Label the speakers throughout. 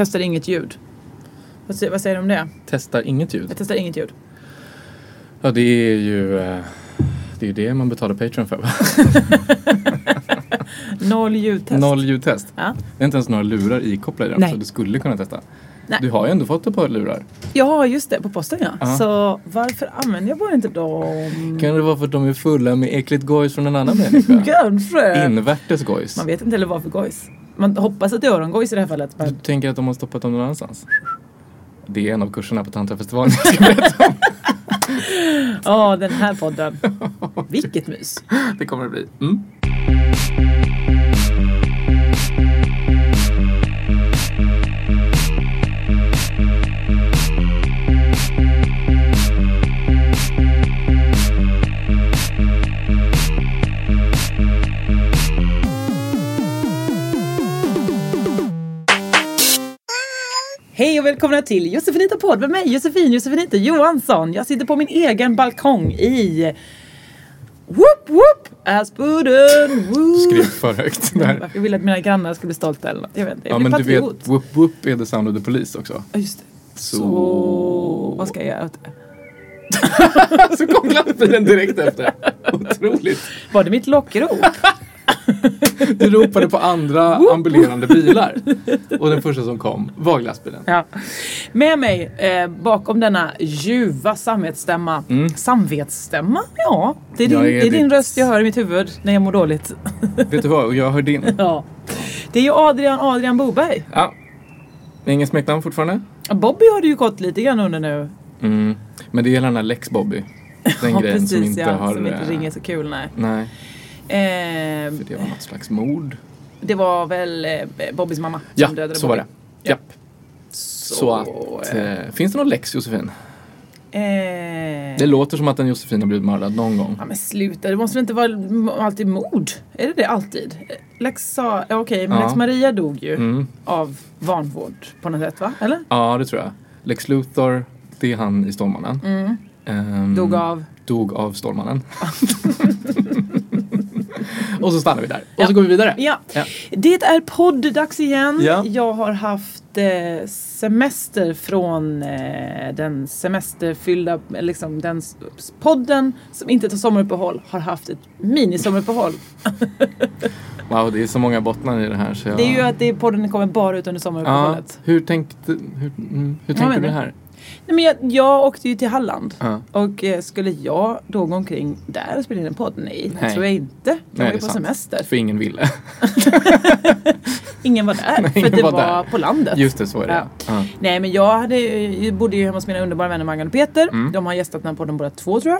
Speaker 1: Testar inget ljud. Vad säger, vad säger du om det?
Speaker 2: Testar inget
Speaker 1: Jag
Speaker 2: ljud.
Speaker 1: testar inget ljud.
Speaker 2: Ja, det är ju eh, det, är ju det man betalar Patreon för. va?
Speaker 1: Noll ljudtest.
Speaker 2: Noll ljudtest.
Speaker 1: Ja.
Speaker 2: Det är inte ens några lurar ikopplade i den,
Speaker 1: Nej.
Speaker 2: så du skulle kunna testa.
Speaker 1: Nej.
Speaker 2: Du har ju ändå fått ett par lurar.
Speaker 1: ja, just det. På posten ja.
Speaker 2: Ja.
Speaker 1: Så varför använder jag bara inte dem?
Speaker 2: Kan det vara för att de är fulla med äckligt gojs från en annan människa?
Speaker 1: Kanske.
Speaker 2: Invärtes gojs.
Speaker 1: Man vet inte heller vad för gojs. Man hoppas att det är örongojs i det här fallet.
Speaker 2: Du
Speaker 1: Men...
Speaker 2: tänker att de har stoppat dem någon annanstans? Det är en av kurserna på Tantrafestivalen. jag ska berätta om.
Speaker 1: Ja, den här podden. Vilket mys.
Speaker 2: det kommer det bli. Mm.
Speaker 1: Hej och välkomna till Josefinita podd med mig Josefin Josefinita Johansson. Jag sitter på min egen balkong i Whoop whoop! Aspudden!
Speaker 2: Du
Speaker 1: whoop.
Speaker 2: skrev för högt där.
Speaker 1: Jag ville att mina grannar skulle bli stolta eller något. Jag vet inte.
Speaker 2: Ja
Speaker 1: Jag
Speaker 2: men
Speaker 1: blir
Speaker 2: du vet,
Speaker 1: patriot.
Speaker 2: whoop whoop är the sound of the police också.
Speaker 1: Ja, just det. Så... Vad ska jag göra åt det?
Speaker 2: Så kom lastbilen direkt efter. Otroligt.
Speaker 1: Var det mitt lockrop?
Speaker 2: Du ropade på andra ambulerande bilar. Och den första som kom var glassbilen.
Speaker 1: ja. Med mig eh, bakom denna ljuva samvetsstämma. Samvetsstämma? Ja, det är din,
Speaker 2: Mm. Jag är
Speaker 1: det är din
Speaker 2: ditt-
Speaker 1: röst jag hör i mitt huvud när jag mår dåligt.
Speaker 2: Vet du vad? Och jag hör din.
Speaker 1: ja. Det är ju Adrian Adrian Boberg.
Speaker 2: Ja. Ingen smeknamn fortfarande?
Speaker 1: Bobby har det ju gått lite grann under nu.
Speaker 2: Mm. Men det gäller den här Lex Bobby. Den
Speaker 1: Ja,
Speaker 2: grejen som inte
Speaker 1: ja,
Speaker 2: har...
Speaker 1: som
Speaker 2: eh,
Speaker 1: inte ringer så kul. Nej.
Speaker 2: Nej,
Speaker 1: Eh,
Speaker 2: för det var något slags mord.
Speaker 1: det var väl eh, Bobbys mamma som
Speaker 2: Ja,
Speaker 1: dödade
Speaker 2: så var
Speaker 1: Bobby.
Speaker 2: det. Japp.
Speaker 1: Så,
Speaker 2: Så att... Eh, finns det någon Lex Josefin?
Speaker 1: eh,
Speaker 2: Det låter som att en Josefin har blivit mördad någon gång.
Speaker 1: Ja men sluta, det måste väl inte vara m- alltid mord? Är det det alltid? Lex sa, ja, okej, men
Speaker 2: Ja.
Speaker 1: Lex Maria dog ju
Speaker 2: Mm.
Speaker 1: av vanvård på något sätt va? Eller?
Speaker 2: Ja, det tror jag. Lex Luthor, det är han i Stålmannen. Ehm,
Speaker 1: Mm. Dog av?
Speaker 2: dog av Stålmannen. och så stannar vi där. Och
Speaker 1: Ja.
Speaker 2: så går vi vidare.
Speaker 1: Ja.
Speaker 2: Ja.
Speaker 1: Det är podd-dags igen.
Speaker 2: Ja.
Speaker 1: Jag har haft eh, semester från eh, den semesterfyllda, eh, liksom den s- podden som inte tar sommaruppehåll har haft ett minisommaruppehåll.
Speaker 2: Wow, det är så många bottnar i det här. Så jag...
Speaker 1: Det är ju att det är podden kommer bara ut under
Speaker 2: ja,
Speaker 1: sommaruppehållet.
Speaker 2: hur tänkte, hur, mm, hur
Speaker 1: menar
Speaker 2: tänkte du
Speaker 1: du?
Speaker 2: här?
Speaker 1: Nej, men jag, jag åkte ju till Halland.
Speaker 2: Ja.
Speaker 1: Och eh, skulle jag då gå omkring där och spela in en podd? Nej, det
Speaker 2: Nej.
Speaker 1: tror jag inte. Jag var
Speaker 2: det
Speaker 1: ju
Speaker 2: är
Speaker 1: på
Speaker 2: sant.
Speaker 1: semester.
Speaker 2: För ingen ville.
Speaker 1: Ingen var där,
Speaker 2: Nej,
Speaker 1: för
Speaker 2: ingen
Speaker 1: det var,
Speaker 2: var där.
Speaker 1: på landet.
Speaker 2: Just det, så är det. Ja. Ja.
Speaker 1: Nej, men jag hade, ju- bodde ju hemma hos mina underbara vänner Maggan och Peter.
Speaker 2: Mm.
Speaker 1: De har gästat den här podden båda två tror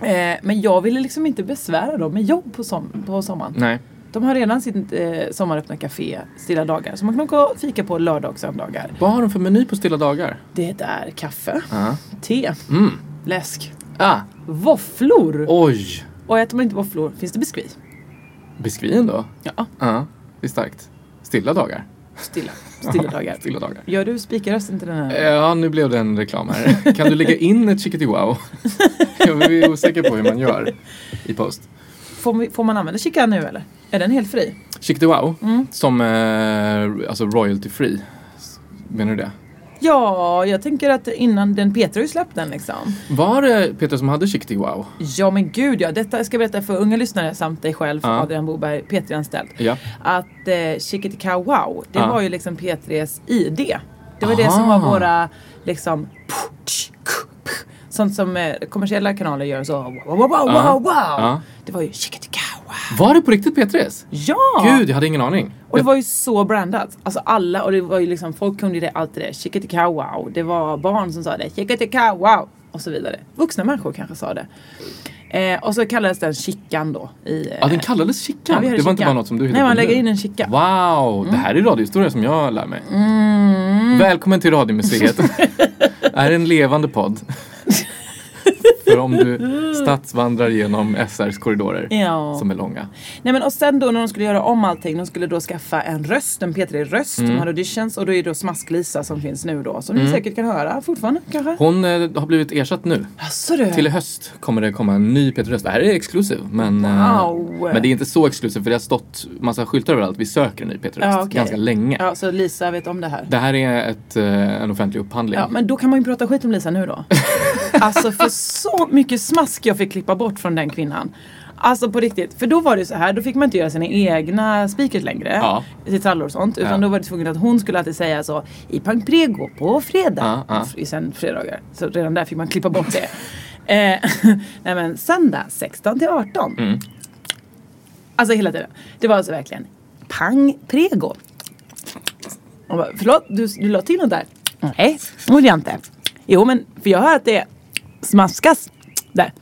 Speaker 1: jag. Eh, men jag ville liksom inte besvära dem med jobb på, som, på sommaren.
Speaker 2: Nej.
Speaker 1: De har redan sitt eh, sommaröppna café Stilla dagar. Så man kan åka och fika på lördag och söndagar.
Speaker 2: Vad har de för meny på stilla dagar?
Speaker 1: Det är kaffe,
Speaker 2: Ja.
Speaker 1: te,
Speaker 2: Mm.
Speaker 1: läsk,
Speaker 2: Ah,
Speaker 1: våfflor.
Speaker 2: oj!
Speaker 1: Och äter man inte våfflor finns det biskvi.
Speaker 2: Biskvin då?
Speaker 1: Ja.
Speaker 2: Ja, det är starkt. Stilla dagar.
Speaker 1: Stilla, stilla dagar.
Speaker 2: Stilla dagar.
Speaker 1: Gör du spikarrösten till den här?
Speaker 2: Ja, nu blev det en reklam här. Kan du lägga in ett chickadee wow? Jag är osäker på hur man gör i post.
Speaker 1: Får, vi- får man använda chikan nu eller? Är den helt fri?
Speaker 2: Chickadee wow,
Speaker 1: Mm.
Speaker 2: som eh, alltså royalty free. Menar du det?
Speaker 1: Ja, jag tänker att innan den, Peter har ju släppt den liksom.
Speaker 2: Var det Peter som hade chickadee wow?
Speaker 1: Ja men gud ja, detta ska jag berätta för unga lyssnare samt dig själv,
Speaker 2: Ja.
Speaker 1: Adrian Boberg, Petri-anställd.
Speaker 2: Ja.
Speaker 1: Att eh, Chickity Cow Wow, det
Speaker 2: Ja.
Speaker 1: var ju liksom P3s ID. Det var det som
Speaker 2: Ah.
Speaker 1: var våra liksom sånt som eh, kommersiella kanaler gör så wow wow wow wow,
Speaker 2: Ja.
Speaker 1: wow.
Speaker 2: Ja.
Speaker 1: Det var ju chicka-ticka, wow.
Speaker 2: Var det på riktigt P3s?
Speaker 1: Ja!
Speaker 2: Gud, jag hade ingen aning.
Speaker 1: Och det var ju så brandat. Alltså alla, och det var ju liksom, folk kunde ju det, allt det där. Chickaticka wow. Det var barn som sa det. Chickaticka wow. Och så vidare. Vuxna människor kanske sa det. Eh, och så kallades den chickan då. I, eh,
Speaker 2: Ja, den kallades
Speaker 1: ja,
Speaker 2: Chickan.
Speaker 1: vi
Speaker 2: det
Speaker 1: hade
Speaker 2: var inte
Speaker 1: chickan.
Speaker 2: bara något som du hittade
Speaker 1: Nej, man
Speaker 2: på
Speaker 1: lägger
Speaker 2: nu.
Speaker 1: in en chicka. Mm.
Speaker 2: Wow, det här är radiohistoria som jag lär mig. Välkommen till Radiomuseet. Det här är en levande podd. För om du stadsvandrar genom SRs korridorer
Speaker 1: Ja.
Speaker 2: som är långa.
Speaker 1: Nej men och sen då när de skulle göra om allting, de skulle då skaffa en röst, en P3 Röst.
Speaker 2: Mm.
Speaker 1: De hade auditions och då är det då Smask-Lisa som finns nu då. Som ni säkert kan höra fortfarande kanske.
Speaker 2: Hon eh, har blivit ersatt nu.
Speaker 1: Jaså du?
Speaker 2: Till i höst kommer det komma en ny Peter Röst. Det här är exklusiv. Men, eh,
Speaker 1: Wow.
Speaker 2: men det är inte så exklusivt för det har stått massa skyltar överallt. Vi söker en ny Peter Röst
Speaker 1: Ja, okej.
Speaker 2: ganska länge.
Speaker 1: Ja, så Lisa vet om det här.
Speaker 2: Det här är ett, eh, en offentlig upphandling.
Speaker 1: Ja, men då kan man ju prata skit om Lisa nu då. alltså för så mycket smask jag fick klippa bort från den kvinnan. Alltså på riktigt. För då var det så här, då fick man inte göra sina egna speakers längre.
Speaker 2: Ja.
Speaker 1: Gitarrer och sånt. Utan
Speaker 2: Ja.
Speaker 1: då var det tvungen att hon skulle alltid säga så i Pank Prego på fredag.
Speaker 2: Ja, ja.
Speaker 1: F- Sen fredagar. Så redan där fick man klippa bort det. eh, nej men söndag 16 till 18.
Speaker 2: Mm.
Speaker 1: Alltså hela tiden. Det var alltså verkligen Pang Prego. Hon bara, förlåt, du, du la till något där? Nej, det gjorde jag inte. Jo, men för jag hör att det smaskas där.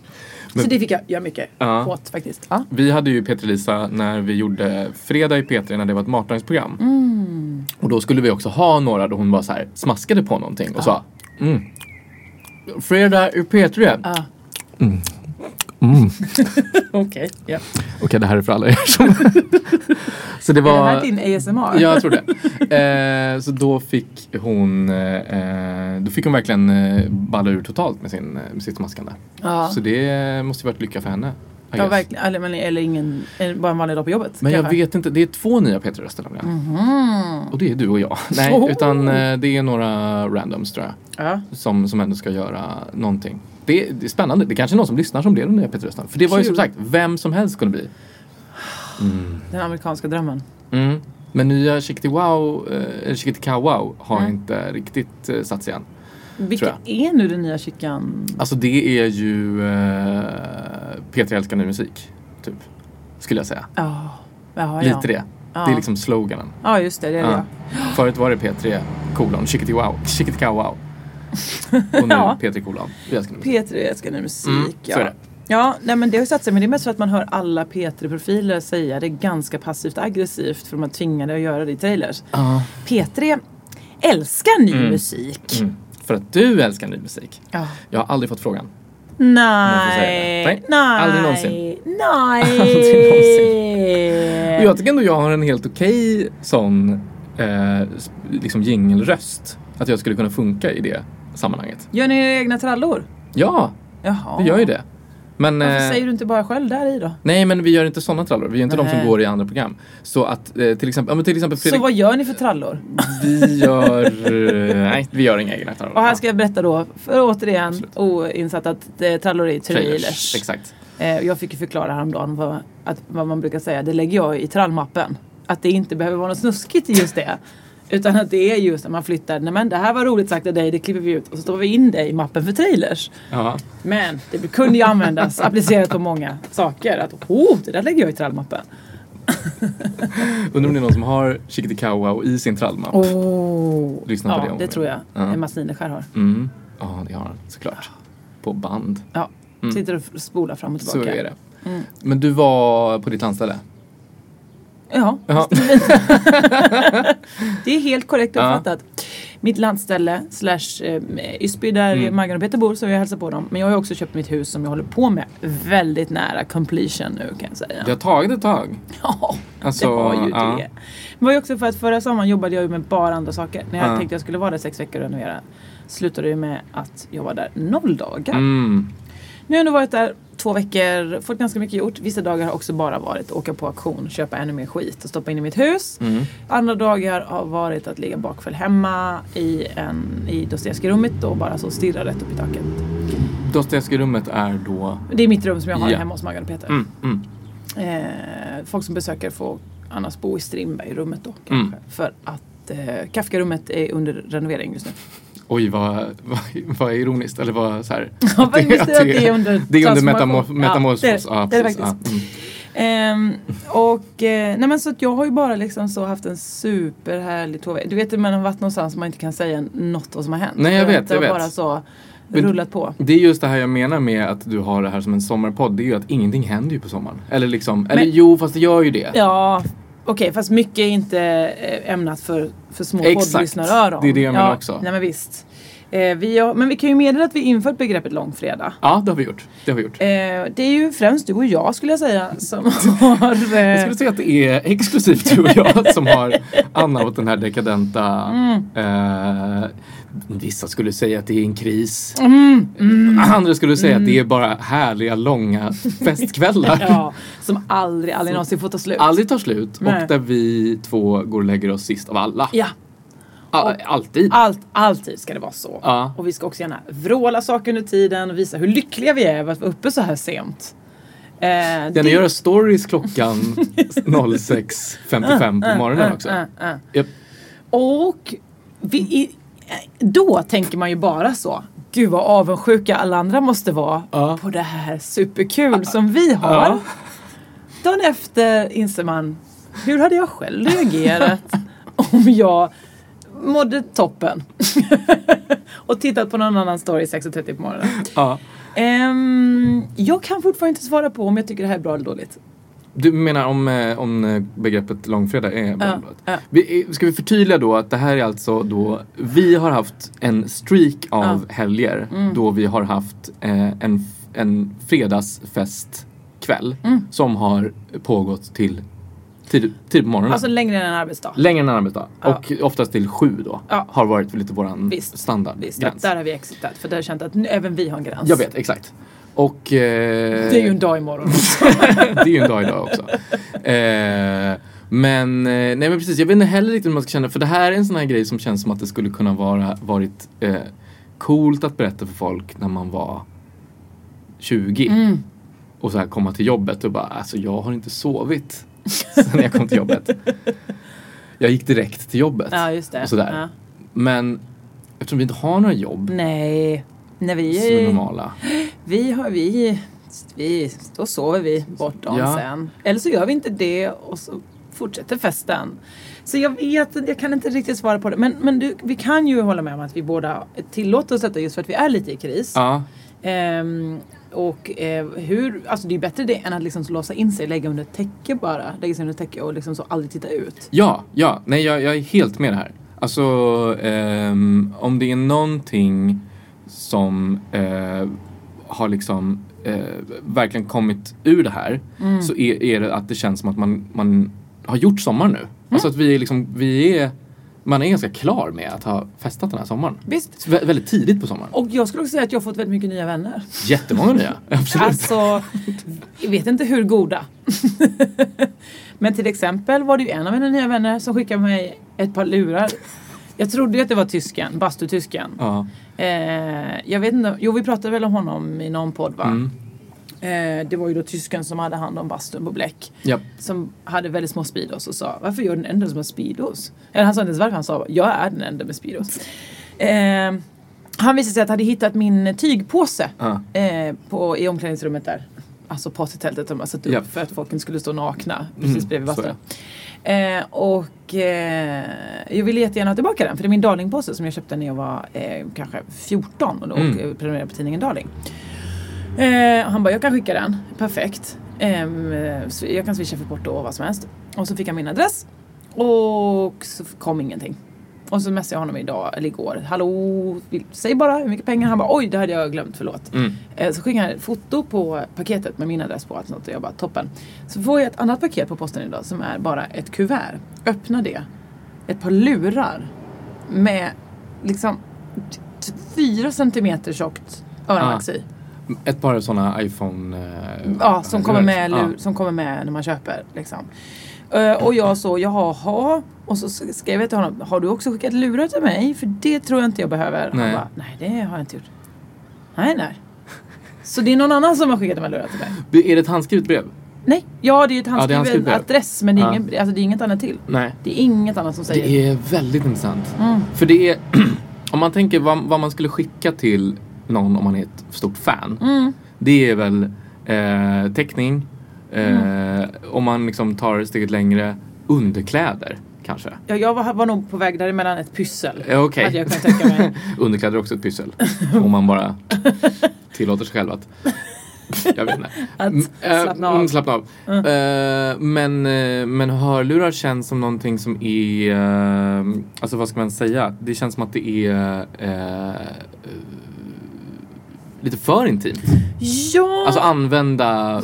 Speaker 1: så det fick jag göra mycket
Speaker 2: Ja.
Speaker 1: åt faktiskt. Ja.
Speaker 2: Vi hade ju Peter Lisa när vi gjorde Fredag i P3 när det var ett matdagsprogram.
Speaker 1: Mm.
Speaker 2: Och då skulle vi också ha några då hon var så här, smaskade på någonting och sa mm. Fredag i P3. Mm.
Speaker 1: Okej. Ja.
Speaker 2: Okej, det här är för alla er som... så det
Speaker 1: Är det här
Speaker 2: var...
Speaker 1: din ASMR?
Speaker 2: Ja, jag tror det. Eh, så då fick hon eh, då fick hon verkligen eh, balla ur totalt med, sin, eh, med sitt smaskande.
Speaker 1: Ja.
Speaker 2: Så det måste ju varit lycka för henne. I
Speaker 1: Ja,
Speaker 2: guess.
Speaker 1: verkligen. Eller, men- eller ingen, eller bara en vanlig dag på jobbet.
Speaker 2: Men jag
Speaker 1: kanske.
Speaker 2: vet inte, det är två nya P3-röster nämligen.
Speaker 1: Mhm.
Speaker 2: Och det är du och jag. Nej,
Speaker 1: Oh.
Speaker 2: utan eh, det är några randoms tror jag.
Speaker 1: Ja.
Speaker 2: Som, som ändå ska göra någonting. Det, det är spännande. Det är kanske är någon som lyssnar som blir den nya P3-rösten. För det var ju som
Speaker 1: Kul.
Speaker 2: sagt, vem som helst kunde bli.
Speaker 1: Den amerikanska drömmen.
Speaker 2: Mm. Men nya Chickity Wow, eh, Chickity Cow Wow har
Speaker 1: Mm.
Speaker 2: inte riktigt eh, satt sig än.
Speaker 1: Vilket är nu den nya chicken?
Speaker 2: Alltså det är ju eh, P3 älskar ny musik, typ. Skulle jag säga.
Speaker 1: Ja. Ja, ja.
Speaker 2: Lite det.
Speaker 1: Ja.
Speaker 2: Det är liksom sloganen.
Speaker 1: Ja, just det. det, är
Speaker 2: Ja.
Speaker 1: det.
Speaker 2: Förut var det P3 kolon, chickity wow, chickity cow wow. Och nu
Speaker 1: Ja.
Speaker 2: P3 kolon. Vi älskar musik.
Speaker 1: P3 älskar nu musik.
Speaker 2: Mm, så
Speaker 1: ja.
Speaker 2: är det.
Speaker 1: Ja, nej men det har ju satt sig. Men det är mest för att man hör alla P3-profiler säga det ganska passivt aggressivt. För man tvingade att göra det i trailers.
Speaker 2: Ja.
Speaker 1: P3 älskar ny musik.
Speaker 2: Mm. För att du älskar ny musik.
Speaker 1: Ja.
Speaker 2: Jag har aldrig fått frågan. får säga
Speaker 1: Nej,
Speaker 2: det. Nej,
Speaker 1: nej,
Speaker 2: aldrig någonsin.
Speaker 1: Nej.
Speaker 2: Aldrig
Speaker 1: Eh.
Speaker 2: Och jag tycker ändå jag har en helt okej sån eh, sp- liksom jingelröst. Att jag skulle kunna funka i det sammanhanget.
Speaker 1: Gör ni era egna trallor?
Speaker 2: Ja,
Speaker 1: Jaha.
Speaker 2: vi gör ju det. Men,
Speaker 1: Varför
Speaker 2: eh,
Speaker 1: säger du inte bara själv där i då?
Speaker 2: Nej, men vi gör inte sådana trallor. Vi är inte de
Speaker 1: Nej.
Speaker 2: som går i andra program. Så att eh, till exempel, ja, men till exempel
Speaker 1: Så
Speaker 2: Fredrik,
Speaker 1: vad gör ni för trallor?
Speaker 2: vi gör... eh, nej, vi gör inga egna trallor.
Speaker 1: Och här ska jag berätta då, för återigen oinsatt att eh, trallor är trailers.
Speaker 2: Exakt.
Speaker 1: Eh, jag fick ju förklara häromdagen vad, att, vad man brukar säga, det lägger jag i trallmappen. Att det inte behöver vara något snuskigt i just det. Utan att det är just när man flyttar, nej men det här var roligt sagt av dig, det klipper vi ut och så stoppar vi in det i mappen för trailers.
Speaker 2: Ja.
Speaker 1: Men det kunde ju användas, applicerat på många saker. Att oh, det där lägger jag i trallmappen.
Speaker 2: Undrar om det är någon som har Chickity Cow Wow i sin trallmapp?
Speaker 1: Oh.
Speaker 2: Lyssna på det
Speaker 1: Ja,
Speaker 2: om
Speaker 1: det
Speaker 2: du
Speaker 1: tror
Speaker 2: vill.
Speaker 1: jag
Speaker 2: Ja.
Speaker 1: Emma Sineskär har.
Speaker 2: Mm. Ja, det har han såklart. På band.
Speaker 1: Ja. Sitter och spolar fram och
Speaker 2: Mm. Så
Speaker 1: tillbaka. Mm.
Speaker 2: är det. Men du var på ditt landställe?
Speaker 1: Ja,
Speaker 2: Ja.
Speaker 1: det är helt korrekt
Speaker 2: Ja.
Speaker 1: uppfattat. Mitt landställe slash eh, Ysby där
Speaker 2: Mm.
Speaker 1: Maggan och Peter bor så jag hälsar på dem. Men jag har ju också köpt mitt hus som jag håller på med väldigt nära completion nu kan jag säga.
Speaker 2: Det har tagit ett tag.
Speaker 1: Ja,
Speaker 2: Alltså,
Speaker 1: det var ju
Speaker 2: ja.
Speaker 1: det. Det var ju också för att förra sommaren jobbade jag ju med bara andra saker. När jag
Speaker 2: Ja.
Speaker 1: tänkte jag skulle vara där sex veckor och renovera slutade det med att jag var där noll dagar.
Speaker 2: Mm.
Speaker 1: Nu har jag nu varit där två veckor, fått ganska mycket gjort. Vissa dagar har också bara varit att åka på auktion, köpa ännu mer skit och stoppa in i mitt hus.
Speaker 2: Mm.
Speaker 1: Andra dagar har varit att ligga bakfull hemma i, en- i Dostojevskij-rummet och bara så stirra rätt upp i taket.
Speaker 2: Dostojevskij-rummet är då...
Speaker 1: Det är mitt rum som jag har
Speaker 2: Ja.
Speaker 1: hemma hos Maggan och Peter.
Speaker 2: Mm, mm. Mm.
Speaker 1: Eh, folk som besöker får annars bo i Strindberg-rummet då kanske. För att eh, Kafkarummet är under renovering just nu.
Speaker 2: Oj, vad, vad, vad ironiskt. Eller vad så här.
Speaker 1: Ja, vad just det, att det är under
Speaker 2: det är under
Speaker 1: transformation.
Speaker 2: metamor- metamorfos.
Speaker 1: Ja, det är det. Det är det
Speaker 2: Ja, mm. precis.
Speaker 1: faktiskt. Ehm, och eh, nej men så att jag har ju bara liksom så haft en superhärlig två veckor. Du vet när man har varit någonstans man inte kan säga något vad som har hänt.
Speaker 2: Nej, jag
Speaker 1: För
Speaker 2: vet,
Speaker 1: att Det
Speaker 2: jag
Speaker 1: har
Speaker 2: vet.
Speaker 1: bara så
Speaker 2: Men-
Speaker 1: rullat på.
Speaker 2: Det är just det här jag menar med att du har det här som en sommarpodd. Det är ju att ingenting händer ju på sommaren. Eller liksom, eller jo fast det gör ju det.
Speaker 1: Ja, okej fast mycket är inte eh, ämnat för, för små
Speaker 2: Exakt.
Speaker 1: poddlyssnaröron.
Speaker 2: Det är det jag menar
Speaker 1: ja,
Speaker 2: också.
Speaker 1: Nej men visst. Eh, vi har, men vi kan ju meddela att vi infört begreppet långfredag.
Speaker 2: Ja, det har vi gjort. Det har vi gjort.
Speaker 1: Eh, det är ju främst du och jag skulle jag säga som har...
Speaker 2: Jag
Speaker 1: Eh,
Speaker 2: skulle säga att det är exklusivt du och jag som har anammat den här dekadenta...
Speaker 1: Mm.
Speaker 2: Eh, vissa skulle säga att det är en kris.
Speaker 1: Mm,
Speaker 2: Andra skulle säga att det är bara härliga långa festkvällar.
Speaker 1: ja, som aldrig, aldrig någonsin får ta slut.
Speaker 2: Aldrig tar slut
Speaker 1: Nej.
Speaker 2: och där vi två går och lägger oss sist av alla.
Speaker 1: Ja,
Speaker 2: A- alltid.
Speaker 1: allt, alltid ska det vara så.
Speaker 2: Ja.
Speaker 1: Och vi ska också gärna vråla saker under tiden och visa hur lyckliga vi är över att vara uppe så här sent. Eh,
Speaker 2: Gärna
Speaker 1: det-
Speaker 2: göra stories klockan 06.55 på morgonen också.
Speaker 1: eh, eh.
Speaker 2: Japp.
Speaker 1: Och vi, i, eh, då tänker man ju bara så. Gud vad avundsjuka alla andra måste vara
Speaker 2: Ja.
Speaker 1: på det här superkul som vi har.
Speaker 2: Ja.
Speaker 1: Dagen efter inser man, hur hade jag själv reagerat om jag mådde toppen och tittat på någon annan story 6.30 på morgonen.
Speaker 2: Ja.
Speaker 1: Ehm, jag kan fortfarande inte svara på om jag tycker det här är bra eller dåligt.
Speaker 2: Du menar om, eh, om eh, begreppet långfredag är blandat?
Speaker 1: ja.
Speaker 2: Vi, eh, ska vi förtydliga då att det här är alltså då vi har haft en streak av helger
Speaker 1: Mm.
Speaker 2: då vi har haft eh, en, f- en fredagsfestkväll
Speaker 1: Mm.
Speaker 2: som har pågått till tid, tid på morgonen.
Speaker 1: Alltså längre än en arbetsdag.
Speaker 2: Längre än en arbetsdag
Speaker 1: Ja.
Speaker 2: och oftast till sju då.
Speaker 1: Ja.
Speaker 2: Har varit lite våran
Speaker 1: Visst. Visst,
Speaker 2: standardgräns.
Speaker 1: där har vi exitat för där har jag känt att nu, även vi har en gräns.
Speaker 2: Jag vet, exakt. Och, eh,
Speaker 1: Det är ju en dag imorgon.
Speaker 2: det är ju en dag idag också. Eh, men, eh, nej men precis, jag vet inte heller riktigt hur man ska känna. För det här är en sån här grej som känns som att det skulle kunna vara varit eh, coolt att berätta för folk när man var 20.
Speaker 1: Mm.
Speaker 2: Och så här komma till jobbet och bara, alltså jag har inte sovit sen jag kom till jobbet. Jag gick direkt till jobbet.
Speaker 1: ja, just det.
Speaker 2: Och sådär.
Speaker 1: Ja.
Speaker 2: Men eftersom vi inte har några jobb
Speaker 1: Nej, när
Speaker 2: som är
Speaker 1: vi,
Speaker 2: normala.
Speaker 1: vi har vi, vi, då sover vi bort dagen
Speaker 2: Ja.
Speaker 1: sen. Eller så gör vi inte det och så fortsätter festen. Så jag vet, jag kan inte riktigt svara på det. Men, men du, vi kan ju hålla med om att vi båda tillåter oss detta just för att vi är lite i kris.
Speaker 2: Ja,
Speaker 1: Ehm, och eh, hur, alltså det är bättre det än att liksom så låsa in sig, lägga under ett täcke bara. Lägga sig under ett täcke och liksom så aldrig titta ut.
Speaker 2: ja, ja. nej jag, jag är helt med det här. Alltså ehm, om det är någonting som eh, har liksom eh, verkligen kommit ur det här så är, är det att det känns som att man, man har gjort sommar nu. Alltså att vi är liksom, vi är, man är ganska klar med att ha festat den här sommaren.
Speaker 1: Visst.
Speaker 2: Vä- väldigt tidigt på sommaren.
Speaker 1: Och jag skulle också säga att jag har fått väldigt mycket nya vänner.
Speaker 2: Jättemånga nya, absolut.
Speaker 1: Alltså, jag vet inte hur goda. Men till exempel var det ju en av mina nya vänner som skickade mig ett par lurar. Jag trodde ju att det var tysken, bastutysken.
Speaker 2: Ja.
Speaker 1: Eh, jag vet inte, jo vi pratade väl om honom i någon podd va?
Speaker 2: Mm.
Speaker 1: Eh, det var ju då tysken som hade hand om bastun på Bläck.
Speaker 2: Japp.
Speaker 1: som hade väldigt små speedos och sa varför är jag den enda som har speedos? Eller han sa inte ens varför, han sa jag är den enda med speedos. Eh, han visade sig att han hade hittat min tygpåse
Speaker 2: Ja.
Speaker 1: eh, på, i omklädningsrummet där. Alltså partytältet de har satt upp
Speaker 2: Japp.
Speaker 1: för att folk inte skulle stå nakna precis bredvid
Speaker 2: Mm, så
Speaker 1: bastun. Eh, och eh, jag ville jättegärna ha tillbaka den för det är min Darlingpåse som jag köpte när jag var eh, kanske 14 och då
Speaker 2: Mm.
Speaker 1: eh, prenumererade på tidningen Darling. Eh, han bara, jag kan skicka den. Perfekt. Ehm, eh, så jag kan swisha för porto och vad som helst. Och så fick han min adress. Och så kom ingenting. Och så messade jag honom idag, eller igår. Hallå, vill, säg bara hur mycket pengar. Han bara, oj det hade jag glömt, förlåt.
Speaker 2: Mm.
Speaker 1: Eh, så skickade han ett foto på paketet med min adress på. Och sånt, och jag bara, toppen. Så får jag ett annat paket på posten idag som är bara ett kuvert. Öppna det. Ett par lurar. Med liksom t- t- fyra centimeter tjockt öronvax
Speaker 2: Ah.
Speaker 1: i.
Speaker 2: Ett par sådana iPhone... eh,
Speaker 1: Ja, som kommer med,
Speaker 2: Ja.
Speaker 1: lur, som kommer med när man köper. Liksom. Eh, och jag så, jaha. Och så skrev jag till honom, har du också skickat lurar till mig? För det tror jag inte jag behöver. Han
Speaker 2: Nej.
Speaker 1: bara, nej det har jag inte gjort. Nej, nej. Så det är någon annan som har skickat de här lurarna till mig.
Speaker 2: Är det ett handskrivet brev?
Speaker 1: Nej, ja det är ju ett
Speaker 2: Ja, det är
Speaker 1: handskriven
Speaker 2: handskrivet.
Speaker 1: adress men det är,
Speaker 2: Ja.
Speaker 1: ingen, alltså, det är inget annat till.
Speaker 2: Nej.
Speaker 1: Det är inget annat som säger.
Speaker 2: Det är väldigt intressant. För det är, om man tänker vad, vad man skulle skicka till någon om man är ett stort fan. Det är väl eh, teckning, eh, om man liksom tar steget längre, underkläder kanske.
Speaker 1: Ja, jag var, var nog på väg däremellan ett pyssel.
Speaker 2: Ja, okej. Mm,
Speaker 1: Hade jag kunnat tänka mig.
Speaker 2: Underkläder är också ett pyssel. om man bara tillåter sig själv att... Jag vet inte.
Speaker 1: Att
Speaker 2: Mm, eh,
Speaker 1: slappna av.
Speaker 2: mm, slappna av. Eh, men, eh, men hörlurar känns som någonting som är... eh, alltså vad ska man säga? Det känns som att det är... eh, eh, lite för intimt.
Speaker 1: Ja,
Speaker 2: Alltså använda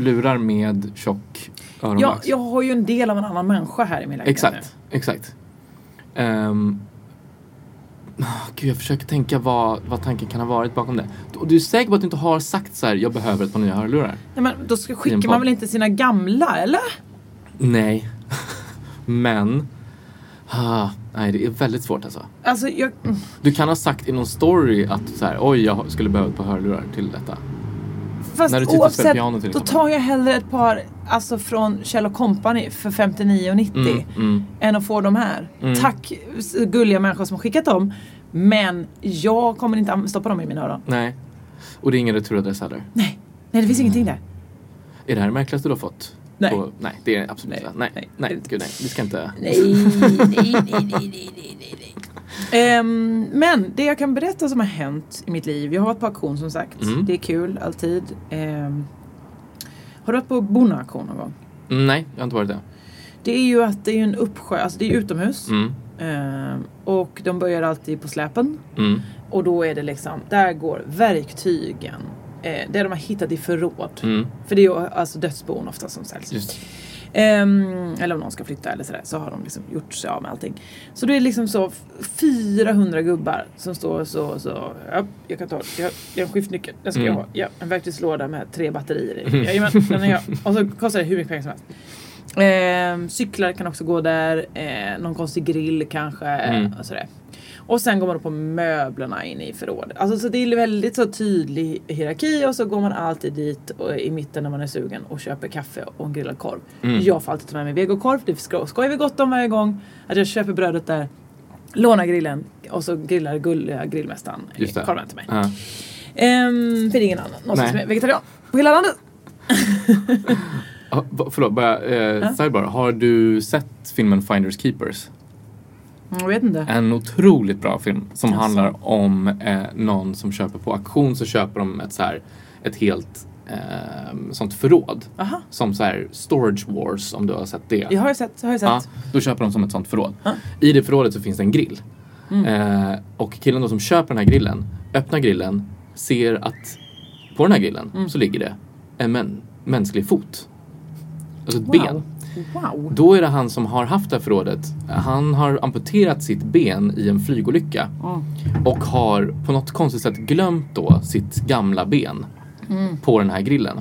Speaker 2: lurar med tjock
Speaker 1: jag,
Speaker 2: öronmax.
Speaker 1: jag har ju en del av en annan människa här i min lägenhet
Speaker 2: Exakt, exakt. Um, ah, gud, jag försöker tänka vad, vad tanken kan ha varit bakom det. Du, du är säker på att du inte har sagt så här, jag behöver ett par nya hörlurar?
Speaker 1: nu. Nej, men då ska,
Speaker 2: I en
Speaker 1: skickar
Speaker 2: podd.
Speaker 1: man väl inte sina gamla, eller?
Speaker 2: Nej. Men. Ah, nej, det är väldigt svårt alltså.
Speaker 1: Alltså, jag, mm.
Speaker 2: Du kan ha sagt i någon story att så här, oj, jag skulle behöva ett par hörlurar till detta.
Speaker 1: fast
Speaker 2: När du sitter och spelar
Speaker 1: oavsett,
Speaker 2: piano till
Speaker 1: då
Speaker 2: exempel.
Speaker 1: tar jag hellre ett par alltså, från Kjell Company för 59,90
Speaker 2: Mm, mm.
Speaker 1: än att få de här. Tack s- gulliga människor som har skickat dem. Men jag kommer inte an- stoppa dem i mina öron.
Speaker 2: Nej. Och det är ingen returadress heller.
Speaker 1: Nej, nej det finns ingenting där.
Speaker 2: Är det här det märkligaste du har fått?
Speaker 1: Nej.
Speaker 2: På- nej, det är det absolut
Speaker 1: Nej,
Speaker 2: inte. Nej, nej,
Speaker 1: nej.
Speaker 2: nej, gud nej. Vi ska inte.
Speaker 1: Ehm, men det jag kan berätta som har hänt i mitt liv. Jag har varit på auktion som sagt.
Speaker 2: Mm.
Speaker 1: Det är kul, alltid. Ehm, har du varit på Bonneauktion någon gång?
Speaker 2: mm, Nej, jag har inte varit det.
Speaker 1: Det är ju att det är en uppsjö, alltså det är utomhus.
Speaker 2: Mm,
Speaker 1: Ehm, och de börjar alltid på släpen.
Speaker 2: mm,
Speaker 1: Och då är det liksom, där går verktygen. Eh, det de har hittat i förråd.
Speaker 2: mm.
Speaker 1: För det är ju alltså dödsbon ofta som säljs.
Speaker 2: Just.
Speaker 1: Ehm, eller om någon ska flytta eller sådär så har de liksom gjort sig av med allting. Så det är liksom så f- 400 gubbar som står så så. Ja, jag kan ta jag, jag har en skiftnyckel. Den ska
Speaker 2: Mm.
Speaker 1: jag ha. Ja, en verktygslåda med tre batterier i. Jajamän, den är jag. Och så kostar det hur mycket pengar som helst. Ehm, cyklar kan också gå där. Eh, någon konstig grill kanske.
Speaker 2: Mm.
Speaker 1: Och sådär. Och sen går man då på möblerna in i förrådet. Alltså, så det är väldigt så tydlig hierarki och så går man alltid dit och, i mitten när man är sugen och köper kaffe och en grillad korv.
Speaker 2: Mm.
Speaker 1: Jag får alltid ta med mig vegokorv. Det sko- skojar vi gott om varje gång. Att jag köper brödet där, lånar grillen och så grillar gulliga grillmästaren eh,
Speaker 2: Just det.
Speaker 1: korven till mig.
Speaker 2: Ja.
Speaker 1: Ehm, för det är ingen annan någonsin
Speaker 2: Nej.
Speaker 1: som är vegetarian på hela landet.
Speaker 2: Ah, va- Förlåt, bara, eh, sidebar. Har du sett filmen Finders Keepers?
Speaker 1: Jag vet inte.
Speaker 2: En otroligt bra film som handlar om eh, någon som köper på auktion så köper de ett, så här, ett helt eh, sånt förråd.
Speaker 1: Aha.
Speaker 2: Som så här Storage Wars om du har sett det.
Speaker 1: Det har jag sett. Det har jag sett.
Speaker 2: Ja, då köper de som ett sånt förråd. I det förrådet så finns det en grill.
Speaker 1: Mm.
Speaker 2: Eh, och killen då som köper den här grillen öppnar grillen, ser att på den här grillen
Speaker 1: Mm.
Speaker 2: så ligger det en män, mänsklig fot. Alltså ett ben.
Speaker 1: Wow.
Speaker 2: Då är det han som har haft det här förrådet. Han har amputerat sitt ben i en flygolycka. Och har på något konstigt sätt glömt då sitt gamla ben
Speaker 1: Mm.
Speaker 2: på den här grillen.